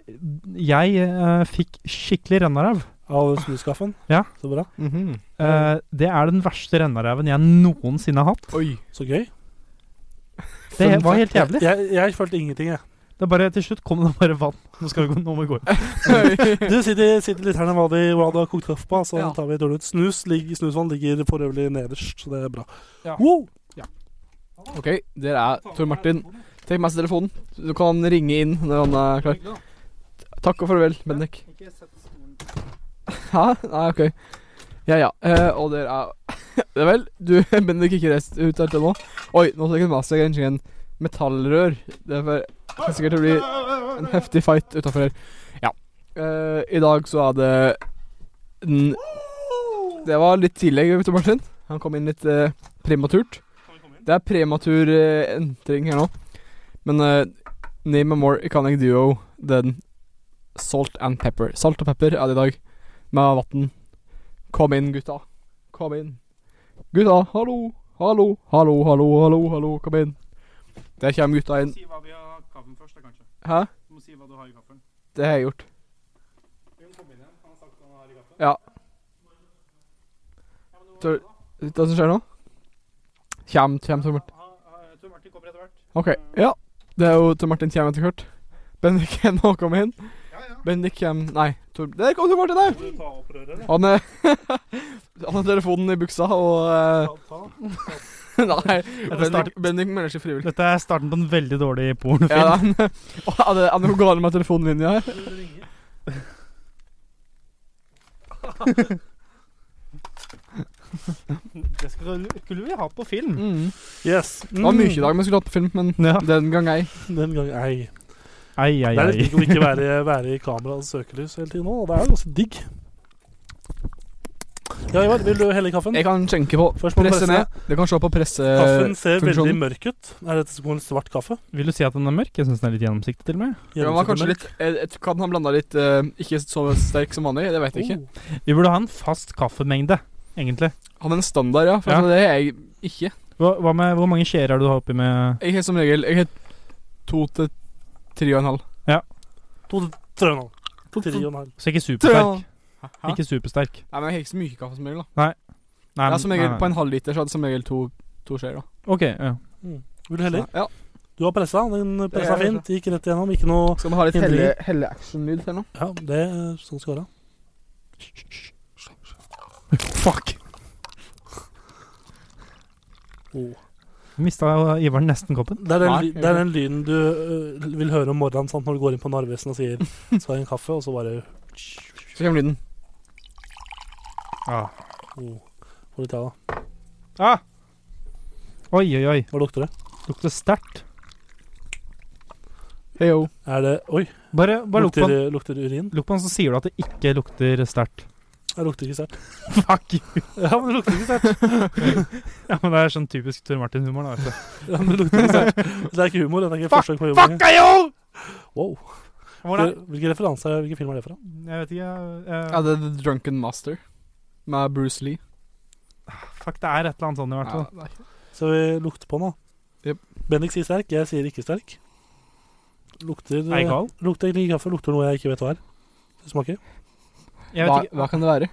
S3: jeg eh, fikk skikkelig rennaræv.
S2: Av snuskaffen.
S3: Ja.
S2: Så bra.
S1: Mhm.
S2: Mm.
S3: Eh, det er den verste rennaræven jeg noensinne har hatt.
S1: Oi.
S2: Så gøy.
S3: Det var helt jævlig.
S2: Jeg, jeg følte ingenting, jeg.
S3: Det er bare, til slutt kom det bare vann. Nå skal vi gå, nå må vi gå.
S2: Du sitter, sitter litt her nede hva de, hva de har kokt kaffe på, så
S1: Ja.
S2: tar vi et dårlig ut. Snus, ligger, snusvann ligger for øvrig nederst, så det er bra.
S3: Ja.
S2: Wow!
S1: OK, der er Tor Martin. Tek med seg telefonen. Du kan ringe inn når han er klar. Takk og farvel, Bendik. Hæ? Nei, OK. Ja, ja. Eh, og der er Ja vel, du, Bendik, ikke reist ut helt ennå. Oi, nå tar jeg med seg kanskje en metallrør. Det er for det er sikkert å bli en heftig fight utafor her. Ja. Eh, I dag så er det den Det var litt tidlig, Tor Martin. Han kom inn litt eh, prematurt. Det er prematur eh, entring her nå. Men eh, Name a More Iconic Duo, den Salt and Pepper. Salt og pepper er det i dag, med vann. Kom inn, gutta. Kom inn. Gutta, hallo, hallo, hallo, hallo, hallo, hallo, kom inn. Der kommer gutta inn.
S3: Si hva vi har kaffen først, da, kanskje.
S1: Hæ?
S3: Du må si hva du har i kaffen.
S1: Det har jeg gjort. Ja. Tør, vet du hva som skjer nå? Kjem, kjem Tor Martin. Ok, ja. Det er jo Tor Martin kjem etter hvert. Bendik er nå kommet inn. Bendik kjem Nei, Tor Der kom Tor Martin der! Han er Han har telefonen i buksa og eh, Nei, Bendik, Bendik melder seg frivillig.
S3: Dette er starten på en veldig dårlig
S1: Ja,
S3: pornofilm.
S1: den, Å, er det er det noe galt med telefonlinja her?
S3: det skulle vi ha på film.
S1: Mm.
S2: Yes. Mm.
S1: Det var mye i dag vi skulle hatt på film, men
S3: Mm. Ja.
S1: den gang ei.
S2: Den gangen ei.
S3: Ei, ei,
S2: Det er litt
S3: ei.
S2: digg å ikke være, være i kameraets søkelys hele tiden nå, og det er jo ganske digg. Ja, Ivar, vil du helle i kaffen?
S1: Jeg kan skjenke på
S2: Først må du
S1: presse
S2: presse.
S1: ned. Du kan se på presse...
S2: Kaffen ser veldig
S1: funksjonen.
S2: mørk ut. Er dette som en svart kaffe?
S3: Vil du si at den er mørk? Jeg syns den er litt gjennomsiktig, til og med.
S1: Ja, den var kanskje litt jeg, jeg, Kan han blanda litt eh, ikke så sterk som vanlig? Det vet jeg ikke.
S2: Oh.
S3: Vi burde ha en fast kaffemengde, egentlig.
S1: Han er en standard, ja. For
S3: Oh. Ja.
S1: altså, det er jeg ikke.
S3: Hva, hva med, hvor mange skjeer er det du har oppi med
S1: Jeg har som regel Jeg har to til tre og en halv.
S2: To, tre og en halv. Tre og en halv.
S3: Så ikke
S1: Tre-
S3: supersterk.
S1: Hæ?
S3: Ikke supersterk.
S1: Nei, men jeg har ikke så mye kaffe som regel, da.
S3: Nei,
S1: Jeg
S3: men-
S1: har som regel
S3: nei,
S1: På
S3: nei.
S1: en halv liter så hadde jeg som regel to, to skjeer, da.
S3: Ok, ja.
S2: Vil du heller?
S1: Så, ja.
S2: Du har pressa. Den
S1: Det
S2: pressa
S1: er-
S2: fint. Gikk rett igjennom. Ikke noe
S1: Skal man ha litt
S2: Hindring.
S1: helle, helle action-lyd eller noe?
S2: Ja, det er sånn det skal være.
S3: Fuck! Oh.
S2: Åh.
S3: Mista Ivaren eh, nesten koppen?
S2: Det er, den,
S1: Nei,
S2: ly- det er den lyden du øh, vil høre om morgenen sant, når du går inn på Narvesen og sier 'skal ha en kaffe', og så bare
S1: Så kommer lyden.
S3: Ah.
S2: oh, Får litt av det.
S3: Ah. Oi, oi, oi.
S2: Hva lukter det?
S3: Lukter sterkt.
S1: Heyo.
S2: Er det Oi,
S3: Bare, bare lukt på
S2: lukter,
S3: den.
S2: lukter det urin?
S3: Lukt på den, så sier du at det ikke lukter sterkt.
S2: Det lukter ikke sterkt.
S3: Fuck!
S2: Ja, men det lukter ikke sterkt.
S3: Ja, men Det er sånn typisk Tor Martin-humor. da, vet du.
S2: Ja, men det lukter ikke sterkt. Det er ikke humor. Det er ikke
S3: Fuck,
S2: forsøk på humor.
S3: Fuck yo!
S2: Wow.
S3: Hvordan?
S2: Hvilken referanse er Hvilken film er det fra?
S3: Jeg vet ikke.
S1: Ja,
S3: eh,
S1: det er The Drunken Master med Bruce Lee.
S3: eh, fuck, det er et eller annet sånn i hvert fall.
S1: Nei, nei.
S2: Så vi lukter på den, da.
S1: Jep.
S2: Bendik sier sterk, jeg sier ikke sterk. Lukter øh,
S3: Er jeg gal?
S2: Lukter egentlig ikke kaffe. Lukter noe jeg ikke vet hva er. Det smaker.
S3: Jeg
S1: Hva,
S3: vet ikke.
S1: hva kan det være?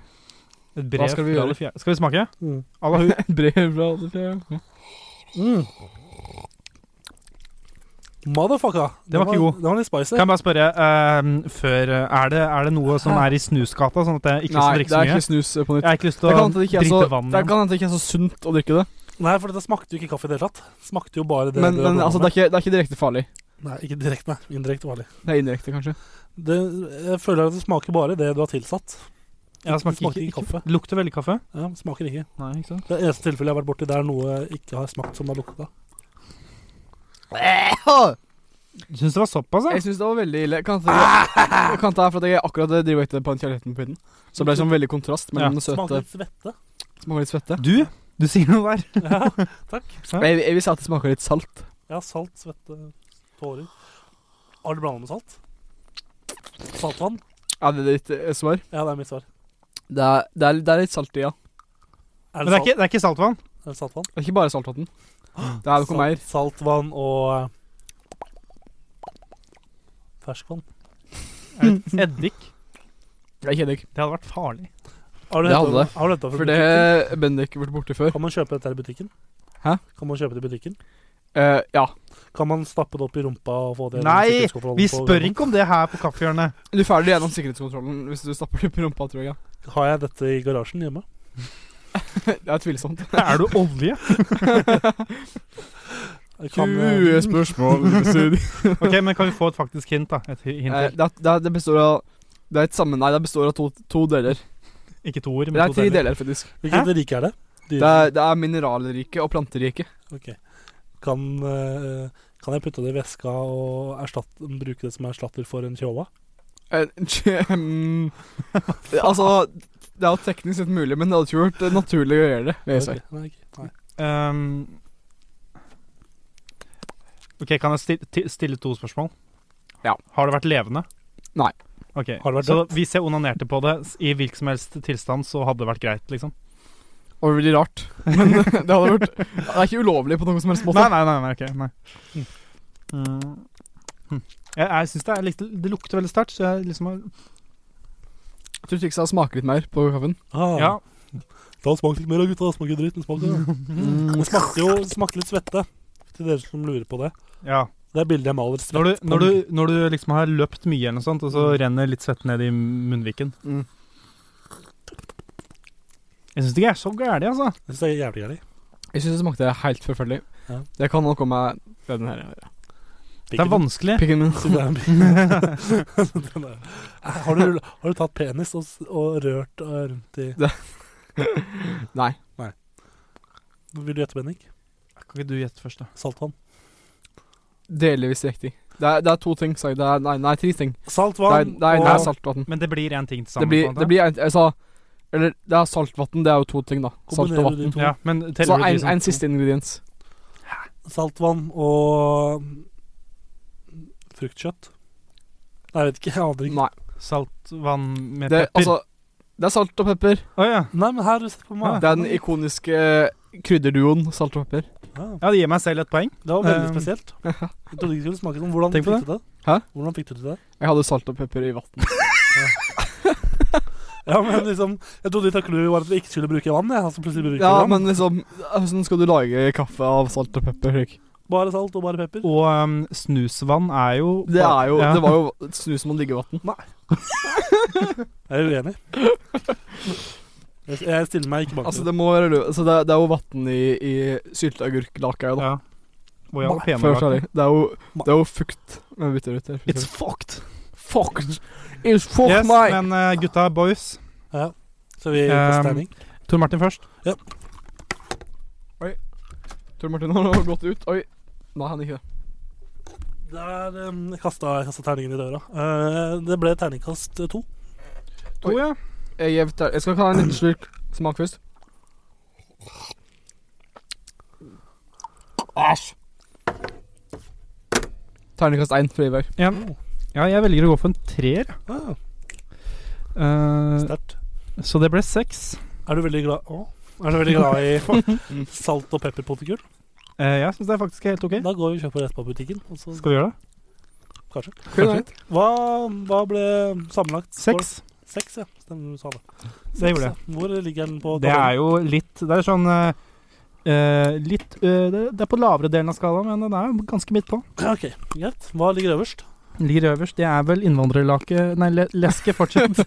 S3: Et brev
S1: skal vi
S3: fra
S1: gjøre?
S3: alle fjerde- Skal vi smake?
S2: Mm.
S3: Alla hu.
S1: Brev fra alle fjerde.
S2: Motherfucker!
S3: Den var ikke god.
S2: Den var litt spicy.
S3: Kan jeg bare spørre eh, før eh, er det, er det noe som er i snusgata, sånn at jeg ikke
S1: Nei,
S3: skal
S1: det
S3: drikke så
S1: er
S3: mye?
S1: ikke snus eh, på nytt.
S3: Jeg har ikke lyst til
S1: Det
S3: å
S1: kan hende det ikke er så-
S3: drite vann
S1: det
S3: igjen.
S1: kan hende det ikke er så sunt å drikke det.
S2: Nei, for dette smakte jo ikke kaffe i det hele tatt. Smakte jo bare det
S1: Men,
S2: det
S1: men
S2: var
S1: altså, det er, ikke, det er ikke direkte farlig.
S2: Nei, ikke direkte, nei. Indirekte farlig.
S1: Det er indirekte, kanskje.
S2: Det, jeg føler at det smaker bare det du har tilsatt.
S3: Jeg
S2: det
S3: smaker
S2: smaker
S3: ikke,
S2: ikke kaffe.
S3: ikke Lukter veldig kaffe.
S2: Ja, det smaker ikke.
S3: Nei, ikke sant?
S2: Det eneste tilfellet jeg har vært borti, det er noe jeg ikke har smakt som det har lukta.
S3: Syns det var såpass,
S1: Altså, Jeg
S3: jeg.
S1: syns det var veldig ille. Kan det jeg kan ta for at jeg akkurat driver etter på en kjærligheten på huden. Så det ble sånn veldig kontrast mellom
S3: Ja.
S1: den søte
S2: Smaker litt svette.
S1: Smaker litt svette.
S3: Du? Du sier noe der.
S2: Ja, takk.
S1: Jeg, jeg vil si at det smaker litt salt.
S2: Ja, salt, svette, tårer. Har du blanda med salt? Saltvann?
S1: Er det ditt eh, svar?
S2: Ja, det er mitt svar.
S1: Det er, det, er, det er litt salt i, ja.
S2: Er det,
S3: Men det er
S2: salt?
S3: ikke, det er ikke saltvann.
S2: Er det saltvann?
S1: Det er ikke bare saltvann. Det er noe mer.
S2: Salt, saltvann og eh, ferskvann.
S3: Er det Eddik.
S1: Det er ikke eddik.
S3: Det hadde vært farlig.
S2: Har du
S1: Det
S2: dette-
S1: hadde det.
S2: Har du dette fra
S1: For det
S2: butikken?
S1: har Bendik vært borti før.
S2: Kan man kjøpe dette her i butikken?
S1: Hæ?
S2: Kan man kjøpe det i butikken?
S1: Eh, ja.
S2: Kan man stappe det opp i rumpa og få det
S3: Nei,
S2: gjennom sikkerhetskontrollen
S3: Vi
S2: på
S3: spør
S2: gammel?
S3: ikke om det her på kaffehjørnet.
S1: Du er ferdig gjennom sikkerhetskontrollen hvis du stapper det opp i rumpa, tror jeg.
S2: Har jeg dette i garasjen hjemme?
S1: Det er tvilsomt.
S3: Er du olje?
S2: Jeg Kan, eh,
S1: spørsmål. Eh,
S3: Ok, men Kan vi få et faktisk hint? da? Et hi- hint til.
S1: det, er- det, er- Eh, det består av Det er et sammen... Nei, det består av to, to deler.
S3: Ikke to ord,
S1: Det
S3: men
S1: er
S3: to
S1: ti
S3: deler.
S1: deler, faktisk.
S2: Hvilket rike er det? Dyre-
S1: Det er, det er mineralrike og planterike.
S2: Kan, eh, kan jeg putte det i veska og erstatte, bruke det som erstatter for en chihuahua?
S1: Eh, mm, altså Det er jo teknisk sett mulig, men det hadde ikke vært eh, naturlig å gjøre det. vil jeg si.
S2: Ok, Nei, ok, nei.
S3: Um, ok, Kan jeg stille, ti- stille to spørsmål?
S1: Ja.
S3: Har det vært levende?
S1: Nei.
S3: Ok,
S2: Har det vært
S3: Så hvis jeg onanerte på det s- i hvilken som helst tilstand, så hadde det vært greit, liksom?
S1: Det var veldig rart. Men det hadde vært Det er ikke ulovlig på noen som helst måte.
S3: Nei, nei, nei. nei, ok, nei. Mm. Hm. Jeg, jeg syns det, er litt- det lukter veldig sterkt, så jeg liksom har
S1: Jeg tror trikset er å smake litt mer på kaffen.
S2: Ah,
S3: Ja.
S2: Da smakte ikke mer av gutta. Smaker dritt. Den smaker,
S3: Mm.
S2: det smakte jo det smakte litt svette, til dere som lurer på det.
S3: ja.
S2: Det er bildet jeg maler svett
S3: Når, du, når,
S2: på.
S3: du, når du liksom har løpt mye, eller noe sånt, og så renner litt svette ned i munnviken
S1: Mm.
S3: Jeg syns det ikke er så gærent, altså.
S2: Jeg synes det er jævlig gærent.
S1: Jeg syns det smakte helt forferdelig.
S2: Ja.
S1: Det kan nok komme med den her.
S3: Det er vanskelig.
S1: Pikken min.
S2: Så det er en bil. Den er- har, du, har du tatt penis og, s- og rørt eh, rundt i
S1: Nei.
S2: Vil du gjette, Bennik?
S3: Kan ikke du gjette først, da?
S2: Saltvann.
S1: Delvis riktig. Det er, det er to ting, sa jeg. Det er, nei, nei, tre ting. Det er,
S2: Saltvann
S1: det er, det er
S2: og
S1: saltvann.
S3: Men det blir én ting
S1: Det
S3: til sammen. på
S1: blir,
S3: en måte.
S1: det blir en, jeg sa Eller det er saltvann, det er jo to ting, da. Salt og
S2: Kombinerer de
S1: vann.
S2: to.
S3: ja, men
S1: Så
S3: teller du de
S1: en,
S3: som
S1: en
S3: to?
S1: siste ingrediens.
S2: Saltvann og fruktkjøtt. Nei, jeg vet ikke. Jeg aner ikke.
S1: Nei.
S3: Salt, vann med
S1: Det,
S3: pepper? Å
S1: altså, det er salt og pepper.
S3: ja.
S2: Nei, men her har du sett på meg.
S1: Det er den ikoniske eh, krydderduoen salt og pepper.
S2: Ja,
S3: ja, det gir meg selv et poeng.
S2: det var veldig
S3: Um,
S2: spesielt. Jeg trodde ikke det skulle smake sånn. Hvordan
S3: Tenk
S2: fikk
S3: på
S2: du det?
S1: Hæ?
S2: Hvordan fikk du til det?
S1: Jeg hadde salt og pepper i vann.
S2: Ja, men liksom Jeg trodde ditt clue var at vi ikke skulle bruke vann. Jeg, altså plutselig bruker vi
S1: Ja,
S2: vann.
S1: men liksom Hvordan skal du lage kaffe av salt og pepper? Erik?
S2: Bare salt og bare pepper.
S3: Og um, snusvann er jo
S1: Det er jo
S3: Ja.
S1: Det var jo snus man ligger i vann.
S2: Jeg er uenig. Jeg, jeg stiller meg ikke bak
S1: Altså,
S2: det.
S1: det må være lø- altså, det, er, det er jo vann i, i sylteagurklaka, jo, da.
S3: ja. Og jeg var
S1: Før jeg var
S3: penere.
S1: ferdig. Det er jo, det er jo fukt. Men vi bytter ut det.
S3: It's fucked!
S1: fucked! It's fucked,
S3: Yes, men eh, gutta, boys.
S2: Så vi
S3: Ehm,
S2: kaster terning.
S3: Tor Martin først.
S1: Tor Martin har gått ut. Oi. Nei, han ikke det.
S2: Der um, kasta jeg kastet terningen i døra. Eh, det ble terningkast to.
S1: Oi.
S3: ja.
S1: Jeg, gir- jeg skal ta en liten slurk smak først. Æsj. Terningkast én for Ivar.
S3: Ja. ja, jeg velger å gå for en treer.
S2: Ah,
S3: Eh,
S2: Sterkt.
S3: så det ble seks.
S2: Er du veldig glad Å? Er du veldig glad i salt og pepperpotetgull?
S3: Eh, jeg syns det er faktisk helt ok.
S2: Da går vi og kjøper rett på butikken. Og så,
S3: Skal vi gjøre det?
S2: kanskje.
S1: Cool,
S2: Hva, hva ble sammenlagt?
S3: Seks.
S2: Seks, ja. Stemmer du sa det.
S3: Det gjorde jeg.
S2: Seks, ja. Hvor ligger den på
S3: Det er jo litt Det er sånn eh, eh, litt eh, det, det er på lavere delen av skalaen, men den er jo ganske midt på.
S2: Ja, OK, greit. Hva ligger øverst?
S3: Ligger øverst. Det er vel innvandrerlake Nei, le, leske, fortsatt.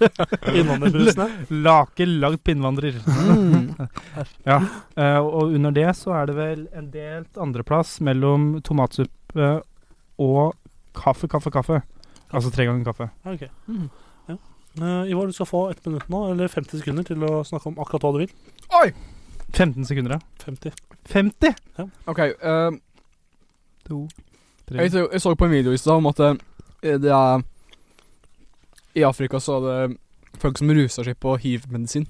S2: Innvandrerbrusene?
S3: Lake lagd på innvandrer. Mm. ja. eh, og under det så er det vel en delt andreplass mellom tomatsuppe og kaffe, kaffe, kaffe. Altså tre ganger kaffe.
S2: Ja, OK. Ja. Eh, Ivar, du skal få ett minutt nå, eller 50 sekunder, til å snakke om akkurat hva du vil.
S1: Oi!
S3: 15 sekunder, ja.
S2: 50.
S3: 50!
S1: OK. ehm,
S3: To, tre
S1: jeg, så, jeg så på en video i stad om at eh, det er I Afrika så er det folk som ruser seg på hiv-medisin.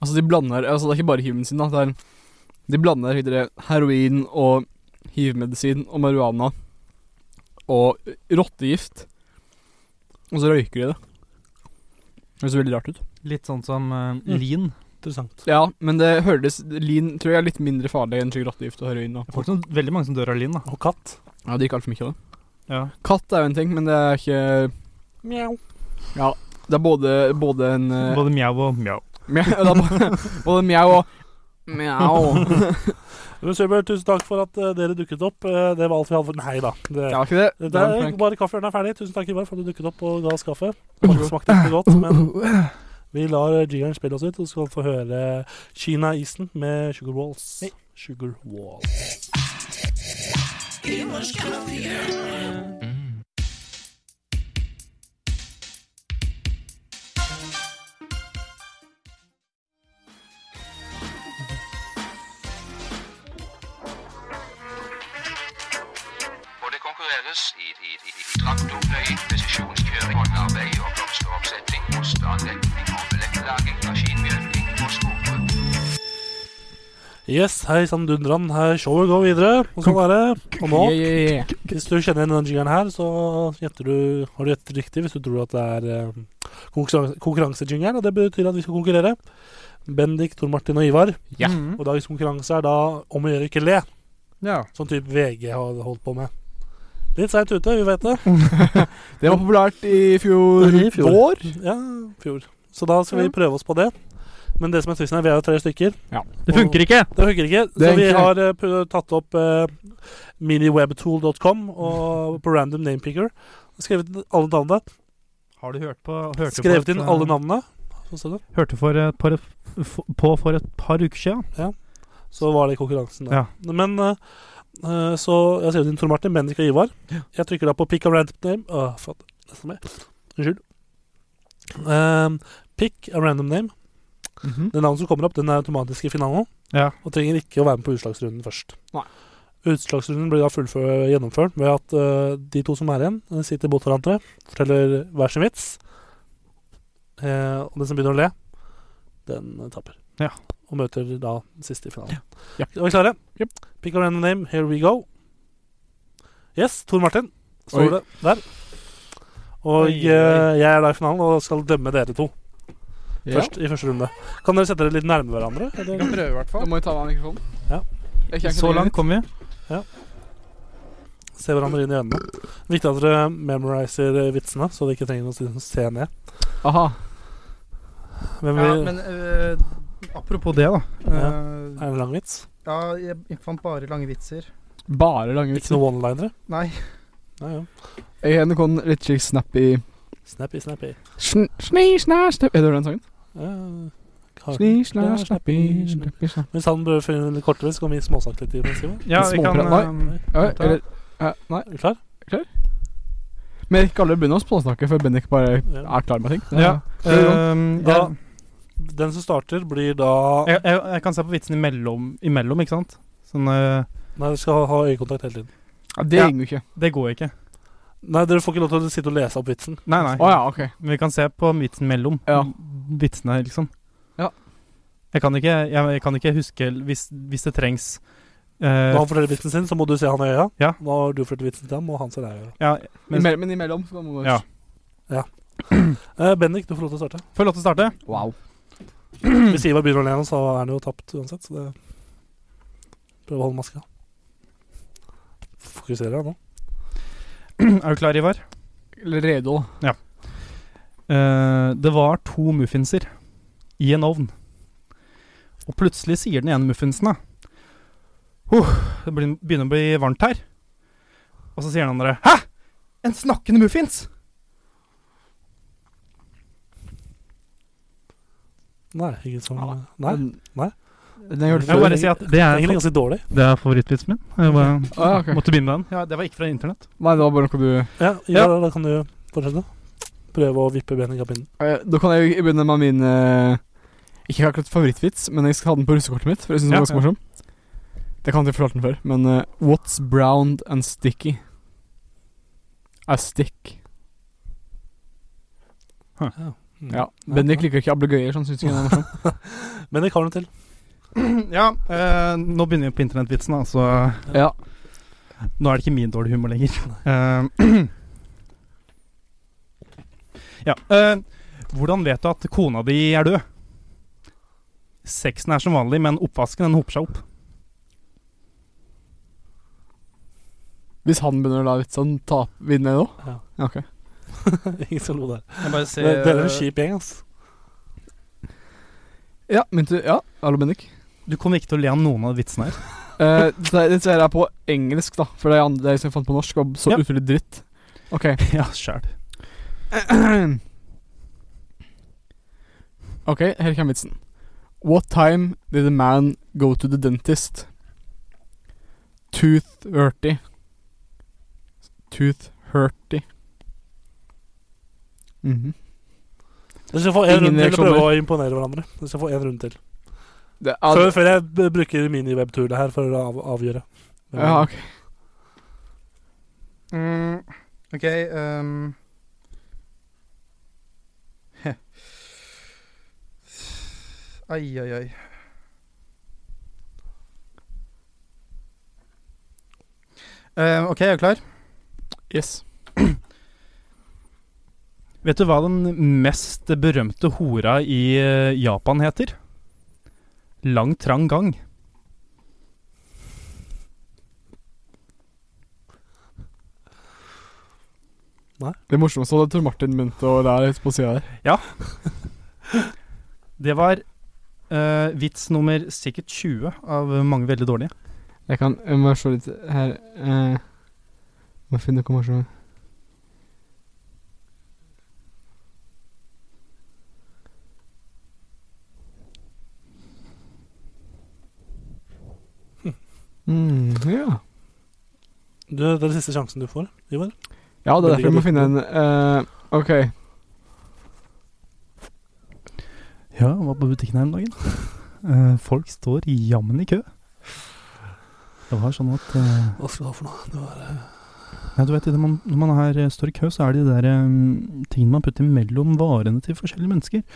S1: Altså, de blander Altså, det er ikke bare hiv-medisin, da. Det er, de blander videre heroin og hiv-medisin og marihuana og rottegift. Og så røyker de det. Det høres veldig rart ut.
S3: Litt sånn som eh, lin.
S2: Interessant.
S1: Ja, men det høres Lean tror jeg er litt mindre farlig enn slik rottegift og heroin. Da.
S3: Det er folk som, veldig mange som dør av lin, da.
S2: Og katt.
S1: Ja, det gikk altfor mye av det.
S3: Ja.
S1: Katt er jo en ting, men det er ikke
S2: Mjau.
S1: Det er både, både en eh,
S3: Både mjau og mjau.
S1: mjau, det er både, både mjau og Mjau.
S2: Men Søbjørn, tusen takk for at eh, dere dukket opp. Eh, det var alt vi hadde for Nei da. Det,
S1: Det var ikke det.
S2: det,
S1: Det var
S2: er
S1: Frank. Mm.
S2: bare kaffen er ferdig. Tusen takk, Ivar, for at du dukket opp og ga oss kaffe. Det smakte ikke godt, men vi lar eh, jingeren spille oss ut, og så skal vi få høre Kina Isen med Sugar Walls. Sugar Walls.
S4: hvor det konkurreres i, i, i, i traktorpløying, presisjonskjøring, håndarbeid og blomsteroppsetting, osteanlegning, omelekkelaging, maskinmjølking og skogbruk.
S2: Yes, hei sann dundran. Her showet går videre. Og sånn er det. Og nå
S1: Yeah, yeah, yeah.
S2: Hvis du kjenner igjen denne jingeren her, så gjetter du, har du gjettet riktig hvis du tror at det er eh, konkurranse- konkurransejingeren. Og det betyr at vi skal konkurrere. Bendik, Tor Martin og Ivar.
S1: Ja.
S3: Mm.
S2: Mm. Og dagens konkurranse er da om å gjøre ikke le.
S3: Ja.
S2: Sånn type VG har holdt på med. Litt seint ute, vi vet det.
S1: Det var populært i fjor,
S2: I fjor.
S1: vår.
S2: Ja, fjor. Så da skal vi prøve oss på det. Men det som er trist, er at vi er jo tre stykker.
S3: Det funker ikke!
S2: Det funker ikke.
S1: Det
S2: Så
S1: er
S2: vi
S1: ikke-
S2: har eh, pu- tatt opp eh, miniwebtool.com og på random namepicker. Skrevet inn alle navnene.
S3: Har du hørt på eh, hørte
S2: Skrevet inn alle
S3: navn?
S2: navnene. Hva sa du?
S3: Hørte for et par, f- på for et par uker siden.
S2: Så var det konkurransen da.
S3: Ja.
S2: Men eh, eh, så Jeg har skrevet inn Tor Martin, Bendik og Ivar. Jeg trykker da på pick a random name. Åh, faen, nesten mer. Unnskyld. Ehm, pick a random name. Det navnet som kommer opp, den er automatisk i finalen.
S3: Mhm. Ja.
S2: Og trenger ikke å være med på utslagsrunden først.
S1: Nei.
S2: Utslagsrunden blir da fullfør, gjennomført ved at eh, de to som er igjen, eh, sitter mot hverandre, forteller hver sin vits. Eh, og den som begynner å le, den eh, taper.
S3: Ja.
S2: Og møter da den siste i finalen.
S1: Ja.
S2: Er vi klare?
S1: Yep.
S2: Pick a random name, here we go. Yes, Tor Martin. Står
S1: Oi.
S2: det der. Og
S3: Oi, oi.
S2: eh, jeg er da i finalen og skal dømme dere to
S1: Ja.
S2: først i første runde. Kan dere sette dere litt nærme hverandre? Eller?
S1: prøve, i hvert fall. Da må jeg ta meg av mikrofonen.
S2: Ja.
S1: Jeg kan ikke
S3: Så
S1: lenger.
S3: langt kom vi.
S2: Se hverandre inn i øynene. Viktig at dere memoriser eh, vitsene, så dere ikke trenger å si- se ned.
S1: Aha.
S2: Hvem
S3: Ja,
S2: vil,
S3: men eh, apropos det, da.
S2: Er
S3: Eh,
S2: det en lang vits?
S3: ja, jeg fant bare lange vitser.
S1: Bare lange
S2: Ikke
S1: vitser.
S2: noe one-linere?
S3: Nei.
S2: Ja, ja.
S1: Jeg hadde en litt slik snappy
S2: Snappy, snappy.
S1: Sn- Sni, sna, snappy Er det den sangen?
S2: Ja, Kar-
S1: Sni, sna, snappy, snappy, snappy.
S2: Hvis han bør finne den litt kortere, så kan vi småsnakke litt i mens vi
S3: Ja, vi kan
S1: Småprat-
S3: eh,
S2: Nei.
S1: Ja,
S3: ta-
S1: eller ja, Nei.
S2: Er du klar?
S1: Men jeg rekker aldri å begynne å småsnakke før Bendik bare
S2: Ja.
S1: er klar med ting.
S3: Ja. eh,
S2: Da,
S3: jeg,
S2: den som starter, blir da
S3: jeg, jeg, jeg kan se på vitsen imellom, imellom ikke sant? Sånn eh,
S2: Nei, dere skal ha- ha øyekontakt hele tiden.
S1: Ja, det
S3: Ja.
S1: gjenger jo ikke.
S3: Det går ikke.
S2: Nei, dere får ikke lov til å sitte og lese opp vitsen.
S3: Nei, nei.
S1: Å ja, ok.
S3: Men vi kan se på vitsen mellom
S1: Ja.
S3: vitsene, liksom.
S1: Ja.
S3: Jeg kan ikke, jeg, jeg kan ikke huske hvis, hvis det trengs eh,
S2: Når han forteller vitsen sin, så må du se han i øya.
S3: Ja.
S2: Når du forteller vitsen til ham, må han se deg i øya.
S3: ja, men,
S1: Imell- Men imellom så kan man
S3: Ja.
S2: Eh, Bendik, du får lov til å starte.
S3: Får jeg lov til å starte?
S1: Wow.
S2: Hvis Ivar begynner å le nå, så er han jo tapt uansett. Så det Prøv å holde maska. Fokuserer jeg nå?
S3: er du klar, Ivar?
S1: Eller Redo.
S3: Eh, det var to muffinser i en ovn. Og plutselig sier den ene muffinsen da «Huh, Det begyn- begynner å bli varmt her. Og så sier den andre Hæ! En snakkende muffins!
S2: Nei. Ikke som
S1: Ja,
S2: Nei. Nei.
S1: Mm. Den har jeg hørt
S3: Jeg må
S1: før.
S3: bare si at det er,
S2: Egentlig ganske dårlig.
S3: det er favorittvitsen min. Jeg bare
S1: Å ja, ok.
S3: måtte begynne med den. Ja, det var ikke fra internett.
S1: Nei, det var bare noe du
S2: Ja,
S3: Ja.
S2: Ivar, da kan du fortsette. Prøve å vippe Bendik av pinnen.
S1: Eh, Da kan jeg jo begynne med min eh, Ikke akkurat favorittvits, men jeg skal ha den på russekortet mitt. For jeg synes den
S3: Ja.
S1: var ganske morsom Det kan jeg fortelle den før, men eh, What's browned and sticky? A stick.
S2: Mm.
S1: Oh, hmm. Ja. Bendik liker ikke ablegøyer, så han syns ikke den er morsom.
S2: Bendik har noe til.
S3: Ja, eh, nå begynner vi på internettvitsen, da, så eh,
S1: Ja.
S3: nå er det ikke min dårlige humor lenger. Eh, ja. eh, hvordan vet du at kona di er død? Sexen er som vanlig, men oppvasken den hoper seg opp.
S1: Hvis han begynner å la vitsene ta vinne nå?
S2: Ja.
S1: Ja, ok.
S2: Ingen som lo der.
S3: Jeg bare ser,
S2: Dere
S1: eh,
S2: er en kjip gjeng, ass.
S1: Ja, men du Ja, hallo, Bendik.
S3: Du kommer ikke til å le av noen av vitsene her.
S1: Eh, dette dette her er på engelsk, da. For det er andre det er som jeg fant på norsk, og så
S3: Ja.
S1: utrolig dritt. Ok.
S3: ja, sjæl.
S1: ok, her kommer vitsen. What time did the man go to the dentist? 2.30 2.30 Mhm.
S2: Dere skal få en
S1: Ingen
S2: runde til å
S1: reaksjoner.
S2: prøve å imponere hverandre. Dere skal få en runde til.
S1: Det er-
S2: Før, før jeg b- bruker mini-webturet her for å av, avgjøre.
S1: Ja, ok.
S3: Mm. ok um. Ai, ai, ai. Eh, ok, jeg er klar.
S1: Yes.
S3: Vet du hva den mest berømte hora i eh, Japan heter? Lang trang gang.
S1: Det morsomste var da Tor Martin begynte å lære på sida der.
S3: Det var eh, vits nummer sikkert 20 av mange veldig dårlige.
S1: Jeg kan jeg må se litt her eh, Må finne noe morsomt. Mm, ja.
S2: Du, det er den siste sjansen du får, Ivar.
S1: ja, det er derfor jeg må
S2: Veldig
S1: finne en eh, OK.
S3: Ja, jeg var på butikken her om dagen. Eh, folk står jammen i kø. Det var sånn at eh,
S2: Hva skal du ha for noe? Det var, eh,
S3: Nei, du vet, det, når man, når man er, eh, står i kø, så er det de der eh, tingene man putter mellom varene til forskjellige mennesker.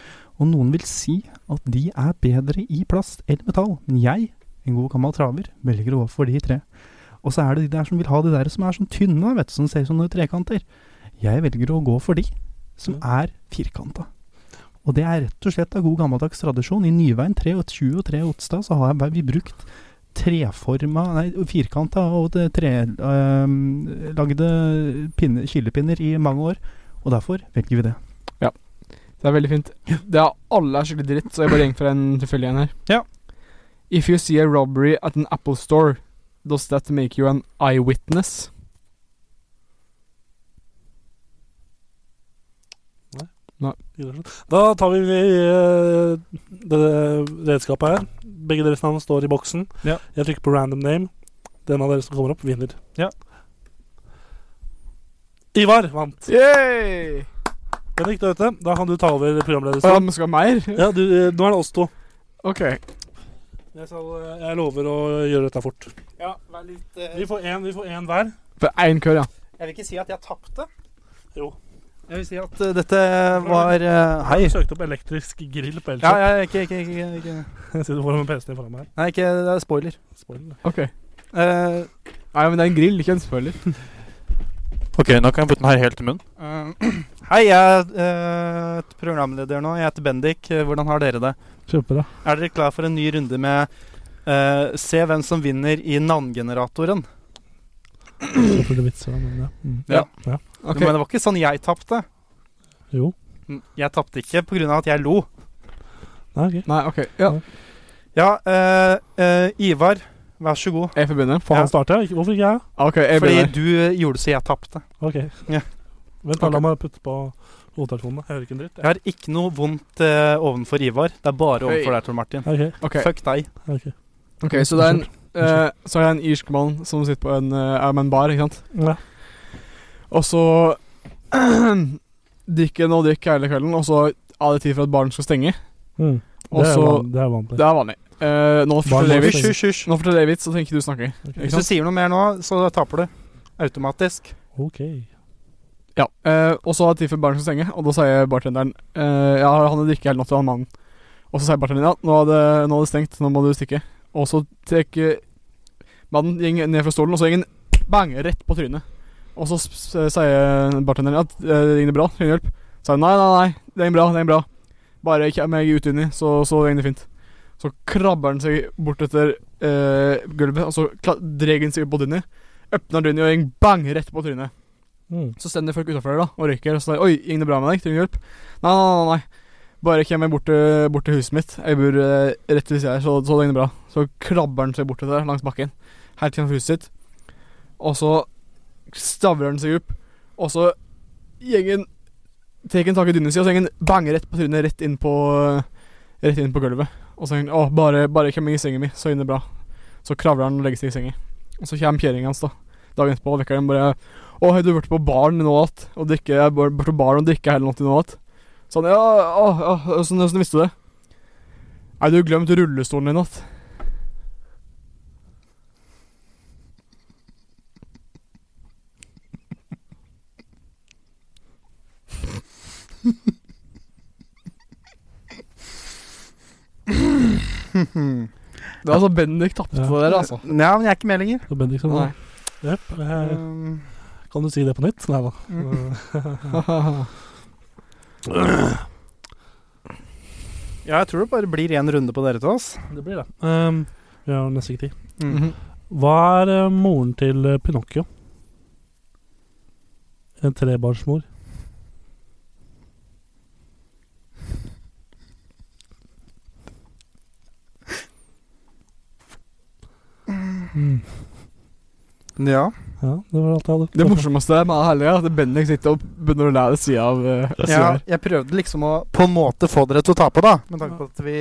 S3: Og noen vil si at de er bedre i plast eller metall, men jeg, en god gammel traver, velger å gå for de tre. Og så er det de der som vil ha de der som er sånn tynne, vet du, som ser ut som noen trekanter. Jeg velger å gå for de som er firkanta. Og det er rett og slett av god gammeldags tradisjon. I Nyveien 23 og 3 Otstad så har jeg vi brukt treforma Nei, firkanta og det trelagde pinne, kilepinner i mange år. Og derfor velger vi det.
S1: Det er veldig fint. Det er, alle er skikkelig dritt, så jeg bare gikk for en tilfeldig en her.
S3: Ja.
S1: If you see a robbery at an Apple store, does that make you an eyewitness?
S2: Da tar vi eh, det redskapet her. Begge deres navn står i boksen.
S3: Ja.
S2: Jeg trykker på random name. Den av dere som kommer opp, vinner.
S3: Ja.
S2: Ivar vant.
S1: Yay!
S2: Benedikt er ute. Da kan du ta over
S1: Å ja,
S2: programledelsen.
S1: men skal det være mer?
S2: Ja, du, eh, nå er det oss to.
S1: Ok.
S2: Jeg, skal, eh, jeg lover å gjøre dette fort.
S3: Ja, vær litt eh,
S2: Vi får én, vi får én hver.
S1: For én kør, ja.
S3: Jeg vil ikke si at jeg tapte.
S2: Jo.
S3: Jeg vil si at eh, dette var eh, Hei.
S2: Jeg søkte opp elektrisk grill på
S3: Ja,
S2: Elkjøp.
S3: ja, ikke, ikke, ikke, ikke.
S2: Jeg sitter foran med PC-en foran meg her.
S3: Nei, ikke, det er spoiler.
S2: Spoiler.
S1: Ok.
S3: Eh,
S1: Nei, men det er en grill, ikke en spoiler.
S8: Ok, nå kan jeg putte den her helt i munnen.
S3: eh, hei, jeg er eh, programleder nå. Jeg heter Bendik. Eh, Hvordan har dere det?
S2: Kjempebra.
S3: Er dere klar for en ny runde med eh, Se hvem som vinner i navngeneratoren?
S2: Selvfølgelig vitser, da, men ja. Mm.
S3: Ja.
S2: ja.
S1: Ok.
S3: Men det var ikke sånn jeg tapte. Mm,
S2: Jo.
S3: Jeg tapte ikke pga. at jeg lo.
S2: Nei, ok.
S1: Nei, ok. Ja,
S3: Ja, eh, eh, Ivar, vær så god.
S1: jeg får begynne. altså. Ah,
S2: Får
S3: Ja.
S2: han starte? Ikke- Hvorfor ikke jeg?
S1: Ok, jeg
S3: Fordi
S1: begynner.
S3: du eh, gjorde så jeg tapte.
S2: Ok.
S3: Ja.
S2: Vent, da,
S1: Ok.
S2: la meg putte på hodetelefonene. Jeg hører ikke en dritt.
S3: Jeg har ikke noe vondt eh, ovenfor Ivar. Det er bare
S1: Hei.
S3: overfor deg, Tor Martin.
S2: Ok,
S1: Ok,
S3: Fuck deg.
S2: ok.
S1: ok, så det er en eh, Så er det en irsk mann som sitter på en, eh, er med en bar, ikke sant?
S2: Ja.
S1: Og så drikker han og drikker hele kvelden, og så er det tid for at baren skal stenge.
S2: Mm.
S1: Og
S2: Det, er
S1: så-
S2: van- det er vanlig.
S1: Det er vanlig. Eh, nå
S2: Barn
S1: forteller jeg
S2: må
S1: vits,
S2: stenge.
S3: Hysj, hysj.
S1: nå forteller jeg vits, så tenker ikke du snakke. Ikke
S3: Hvis du
S1: sant?
S3: sier noe mer nå, så taper du. Automatisk.
S2: Ok.
S1: Ja, eh, Og så er det tid for baren skal stenge, og da sier bartenderen eh, Ja, han har drukket hele natta, han mannen. Og så sier bartenderen ja, nå er, det, nå er det stengt, nå må du stikke. Og så trekker mannen gjeng ned fra stolen, og så går han bang rett på trynet. Og så s- s- sier bartenderen at det gikk bra, trenger du hjelp? Så sier han nei, nei, nei, det gikk bra, det gikk bra. Bare ikke meg ut inni, så, så går det fint. Så krabber han seg bort etter eh, gulvet, og så kla- drar han seg opp på trynet. Åpner dyna og går bang rett på trynet.
S2: Mm.
S1: Så stender folk utafor der da og røyker. Og så sier Oi, gikk det bra med deg? Trenger du hjelp? Nei, nei, nei. nei. Bare kom meg bort, til- bort til huset mitt. Jeg bor eh, rett ved siden her, så, så det gikk bra. Så krabber han seg bortover der langs bakken, helt til huset sitt. Og så stavrer han seg opp, og så gjengen tar han tak i dyna si, og så gjengen banger rett på trynet, rett inn på Rett inn på gulvet. Og så sier han Å, bare, bare kom meg i senga mi, så gikk det bra. Så kravler han og legger seg i senga. Og så kommer kjerringa hans da dagen etterpå og vekker dem bare å, har du vært på baren nå at? Og drikke, jeg har vært på baren og drikke hele natten nå at? Så han, ja, å, ja, hvordan, hvordan visste du det? Nei, du har glemt rullestolen din at. Det er altså Bendik tapte
S2: Ja.
S1: på det der, altså.
S3: Nei, men jeg er ikke med lenger.
S2: Så Bendik, sånn,
S1: Nei.
S2: Jep, eh,
S3: Um,
S2: kan du si det på nytt? Nei da.
S3: ja, jeg tror det bare blir én runde på dere Mm. til oss.
S2: Det blir det. Um, vi har nesten ikke tid.
S1: Mhm.
S2: Hva er eh, moren til eh, Pinocchio? En trebarnsmor. Mm.
S3: Ja.
S2: Ja, det var alt jeg hadde.
S1: Det morsomste med det hele er at Bendik sitter og begynner å lære det sida av eh,
S3: ja.
S1: siden her.
S3: Jeg prøvde liksom å på en måte få dere til å tape, da. Med tanke på at vi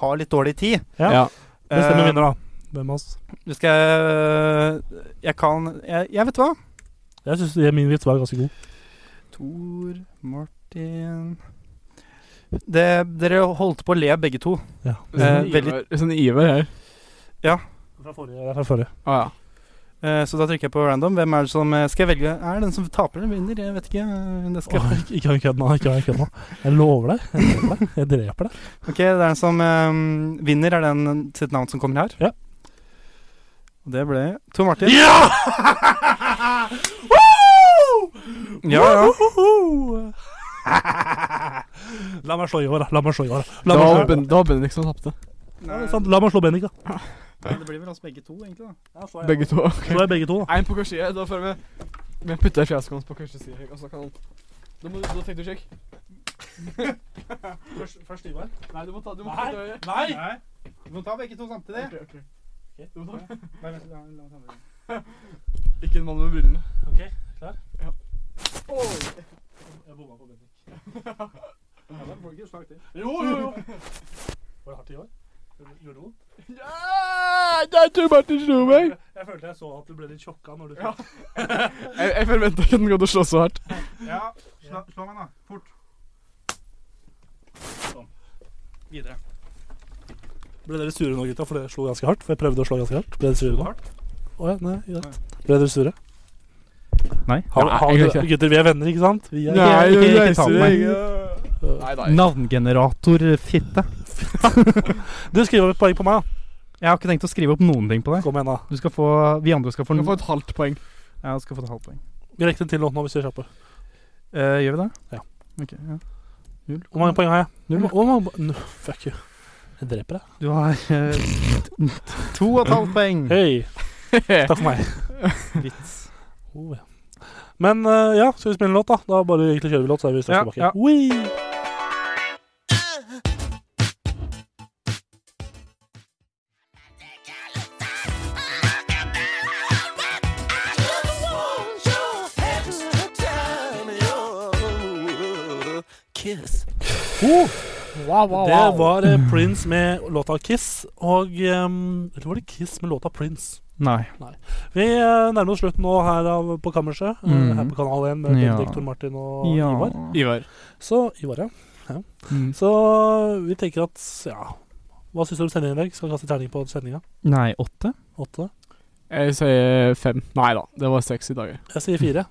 S3: har litt dårlig tid.
S2: Ja.
S1: Ja.
S2: Bestemmer
S3: Eh,
S2: vinner, da. Hvem av oss?
S3: Du skal jeg, jeg kan Jeg, jeg vet hva.
S2: Jeg syns min vits var ganske god.
S3: Tor Martin det, Dere holdt på å le, begge to.
S2: Ja.
S3: Eh,
S1: Sånn
S3: veldig-
S1: iver- Sånn iver her.
S2: Fra forrige. det er Fra forrige.
S1: Å ja.
S3: Eh, så da trykker jeg på random. Hvem er det som eh, Skal jeg velge? Er det den som taper eller vinner? Jeg vet ikke. Eh, Det skal
S2: Åh, ikke- ikke ha en kødd nå. Ikke ha en kødd nå. Jeg lover deg. Jeg dreper deg. Jeg dreper deg.
S3: Ok, det er den som eh, vinner, er den sitt navn som kommer her?
S2: Ja.
S3: Og det ble Tor Martin. Ja! ja, ja.
S2: Woho! La meg slå i år, da. La meg slå i år, da. La
S1: Det
S2: meg
S1: var
S2: slå,
S1: Ben- det var Bendik som tapte.
S2: Ja, det er sant. La meg slå Bendik, da.
S3: Men det blir vel oss begge to, egentlig. da.
S2: Ja, så er jeg
S1: Begge
S2: også.
S1: to.
S2: Så er begge to.
S1: Én på hver side. Da får vi Vi putter fjesket hans på hver side. Og så kan han Da må du Da fikk du sjekk.
S2: Først, først Ivar.
S1: Nei, du må ta Du må
S2: Nei.
S1: ta det.
S2: Nei!
S3: Nei. Vi må ta begge to samtidig.
S1: Ok, ok.
S2: Ok.
S1: Du må ta det.
S3: Nei, vent, la- la meg ta med den.
S1: Ikke en mann med brillene.
S2: Ok,
S1: Oi.
S2: jeg bomma på Bendik.
S1: Jo, jo, jo.
S2: Var det hardt i år? Gjorde det vondt?
S1: Ja, det er Tor Martin slo meg.
S2: Jeg følte jeg så at du ble litt sjokka når du
S1: Ja.
S2: fikk
S1: Jeg, jeg forventa ikke at den kom til å slå så hardt.
S3: Ja, slå, slå meg, da. Fort. Videre.
S2: Ble dere sure nå, gutta? For det slo ganske hardt. For jeg prøvde å slå ganske hardt. Ble dere sure nå?
S3: Hardt?
S2: Å ja, nei, greit. Ble dere sure?
S3: Nei.
S2: Har,
S1: Nei, jeg
S2: har, dere-
S1: gjør ikke
S2: gutter, vi er venner, ikke sant? Vi er
S3: Nei, ikke- ikke ta meg.
S1: Nei, nei.
S3: Navngeneratorfitte.
S2: Du skriver opp et poeng på meg,
S3: Jeg har ikke tenkt å skrive opp noen ting på
S2: da.
S3: deg.
S2: Kom igjen, da.
S3: Du skal få, vi andre skal få,
S1: Du kan få et halvt poeng.
S3: ja, skal få et halvt poeng.
S2: Vi rekker til nå, nå hvis vi er kjappe.
S3: Eh, gjør vi det?
S2: Ja.
S3: Ok, ja. Null.
S2: Hvor mange poeng har jeg?
S3: Null.
S2: Hvor mange- Nå, Fuck you. Jeg dreper deg.
S3: Du har eh, to og et halvt poeng.
S2: Hei! Takk for meg.
S3: Vits.
S2: Oh, ja. Men eh, ja, skal vi spille en låt, da? Da bare egentlig kjører vi låt, så er vi straks
S3: Ja,
S2: tilbake. Oh,
S3: ja.
S2: Wee!
S6: Kiss.
S2: oh.
S1: Wow, wow,
S2: Det var eh, Prince med låta 'Kiss'. Og ehm, Eller var det Kiss med låta 'Prince'?
S3: Nei.
S2: Vi eh, nærmer oss slutten nå her av, på kammerset. eh,
S3: Mhm.
S2: Her på Kanal 1 med
S3: Ja.
S2: Bendik, Tor Martin og Ivar.
S9: Ivar.
S2: Så Ivar, ja.
S3: Mm.
S2: Så vi tenker at ja Hva syns du om sendingen i dag? Skal vi kaste terning på sendinga?
S3: Nei, åtte?
S2: Åtte?
S1: Jeg sier fem. Nei da, det var seks i dag.
S2: Jeg sier fire.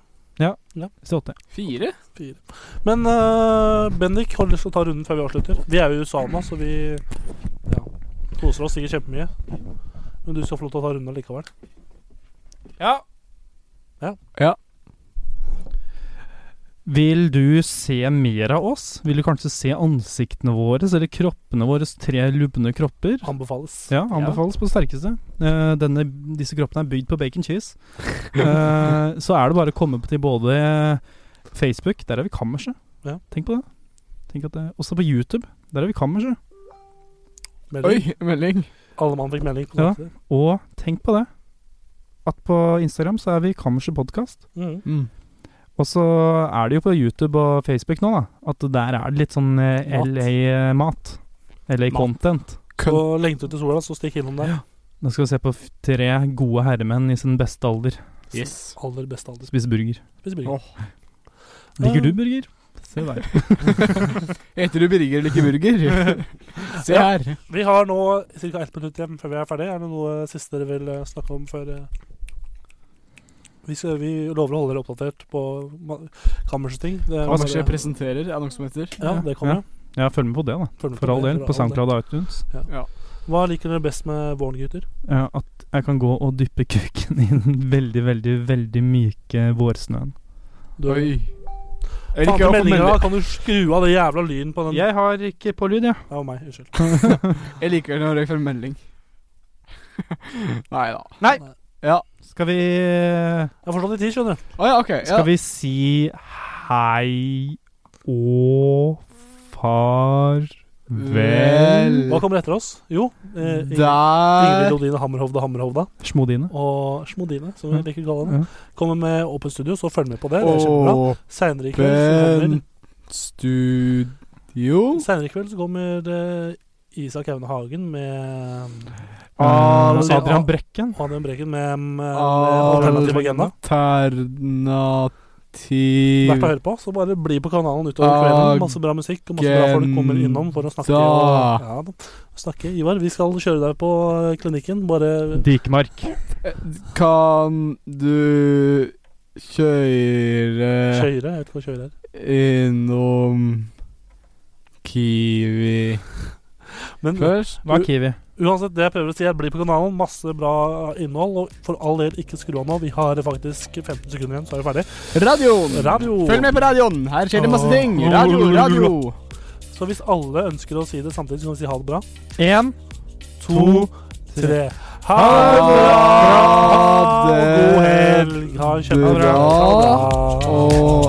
S3: Si åtte.
S1: Fire?
S2: Men eh, Bendik har du lyst til å ta runden før vi avslutter. Vi er jo i USA nå, så vi ja, koser oss sikkert kjempemye. Men du skal få lov til å ta runden likevel.
S9: Ja.
S3: Vil du se mer av oss? Vil du kanskje se ansiktene våre, eller kroppene våre, tre lubne kropper?
S2: Anbefales.
S3: Ja, anbefales på det sterkeste. Eh, denne, disse kroppene er bygd på bacon cheese. Eh, så er det bare å komme til både Facebook, der er vi kammerset.
S2: Ja.
S3: Tenk på det. Tenk at det. Også på YouTube, der er vi kammerset.
S1: Oi,
S2: Melding.
S1: melding.
S2: Alle mann fikk melding. på
S3: Ja.
S2: samtidig.
S3: Og tenk på det, at på Instagram så er vi kammerset podcast.
S2: Mhm.
S3: Og så er det jo på YouTube og Facebook nå, da, at der er det litt sånn
S2: Mat.
S3: LA-mat.
S2: Mat.
S3: LA-content.
S1: Kødd.
S2: Og lengte ut til sola, så stikk innom der.
S3: Nå skal vi se på f- tre gode herremenn i sin beste alder
S1: Yes.
S2: Aller beste alder.
S3: spise burger.
S2: Spis burger.
S3: Liker du burger? Se der.
S1: Heter du Birger eller ikke Burger? Se
S2: Ja.
S1: her.
S2: Vi har nå ca. ett minutt igjen før vi er ferdig. Er det noe siste dere vil eh, snakke om før eh? vi, skal, vi lover å holde dere oppdatert på ma- kammersting. Det-
S1: Kammerset presenterer, er det noe som heter.
S2: Ja, det kommer.
S3: Ja, følg med på det, da.
S2: Følg med
S3: For
S2: på
S3: all
S2: det,
S3: del.
S2: for
S3: På
S2: all del.
S3: SoundCloud og iTunes.
S2: Hva liker dere best med våren, gutter?
S3: Eh, at jeg kan gå og dyppe kuken i den veldig, veldig, veldig myke vårsnøen.
S2: Du,
S1: Oi. Jeg liker
S2: Faen til
S1: å få
S2: meldinga, da!
S1: melding.
S2: Kan du skru av det jævla lyden på den?
S3: Jeg har ikke på lyd, jeg.
S2: Det var meg. Unnskyld.
S1: Jeg liker når jeg får melding. Nei da.
S3: Nei!
S2: Nei.
S1: Ja.
S3: Skal vi
S2: Jeg har forstått i tid, skjønner du.
S1: Å ja, OK. Ja.
S3: Skal vi si hei og farvel
S2: Hva kommer etter oss? Jo, eh, Ingrid- Ingrid
S1: Der
S2: Odine Hammerhovda Hammerhovda
S3: Smodine.
S2: og Smodine, som vi liker å kalle henne.
S3: Ja.
S2: Kommer med Open Studio, så følg med på det. Det er kjempebra.
S1: Åpen
S2: Seinere i kveld så kommer,
S1: studio
S2: senere i kveld så kommer eh, Isak Aune Hagen med
S3: Ah,
S2: Nå sier jeg
S3: Adrian
S2: A.
S3: Brekken.
S2: og Adrian Breken med, eh, med
S3: Ah,
S2: Alternativ Agenda. Verdt å
S1: Alternativ
S2: høre på, så bare bli på kanalen utover
S3: Ah,
S2: kvelden. Masse bra musikk, og masse bra folk kommer innom for å snakke. Og,
S3: Ah.
S2: ja, da. snakke. Ivar, vi skal kjøre deg på eh, klinikken. Bare
S3: Dikemark.
S1: Kan du kjøre
S2: kjøre. Jeg vet ikke hva kjøre er.
S1: innom Kiwi
S2: Men
S1: først?
S3: Hva er Kiwi?
S2: Uansett, det jeg prøver å si er bli på kanalen. Masse bra innhold. Og for all del, ikke skru av nå. Vi har faktisk 15 sekunder igjen, så er vi ferdig.
S1: Radioen!
S2: Radio.
S1: Følg med på radioen! Her skjer det masse
S2: Åh.
S1: ting! Radio, radio!
S2: Så hvis alle ønsker å si det samtidig, så kan vi si ha det bra.
S3: Én,
S2: To, tre. Ha det bra!
S1: Ha det
S2: God helg! Ha en kjempebra
S1: bra.
S2: dag.
S1: Og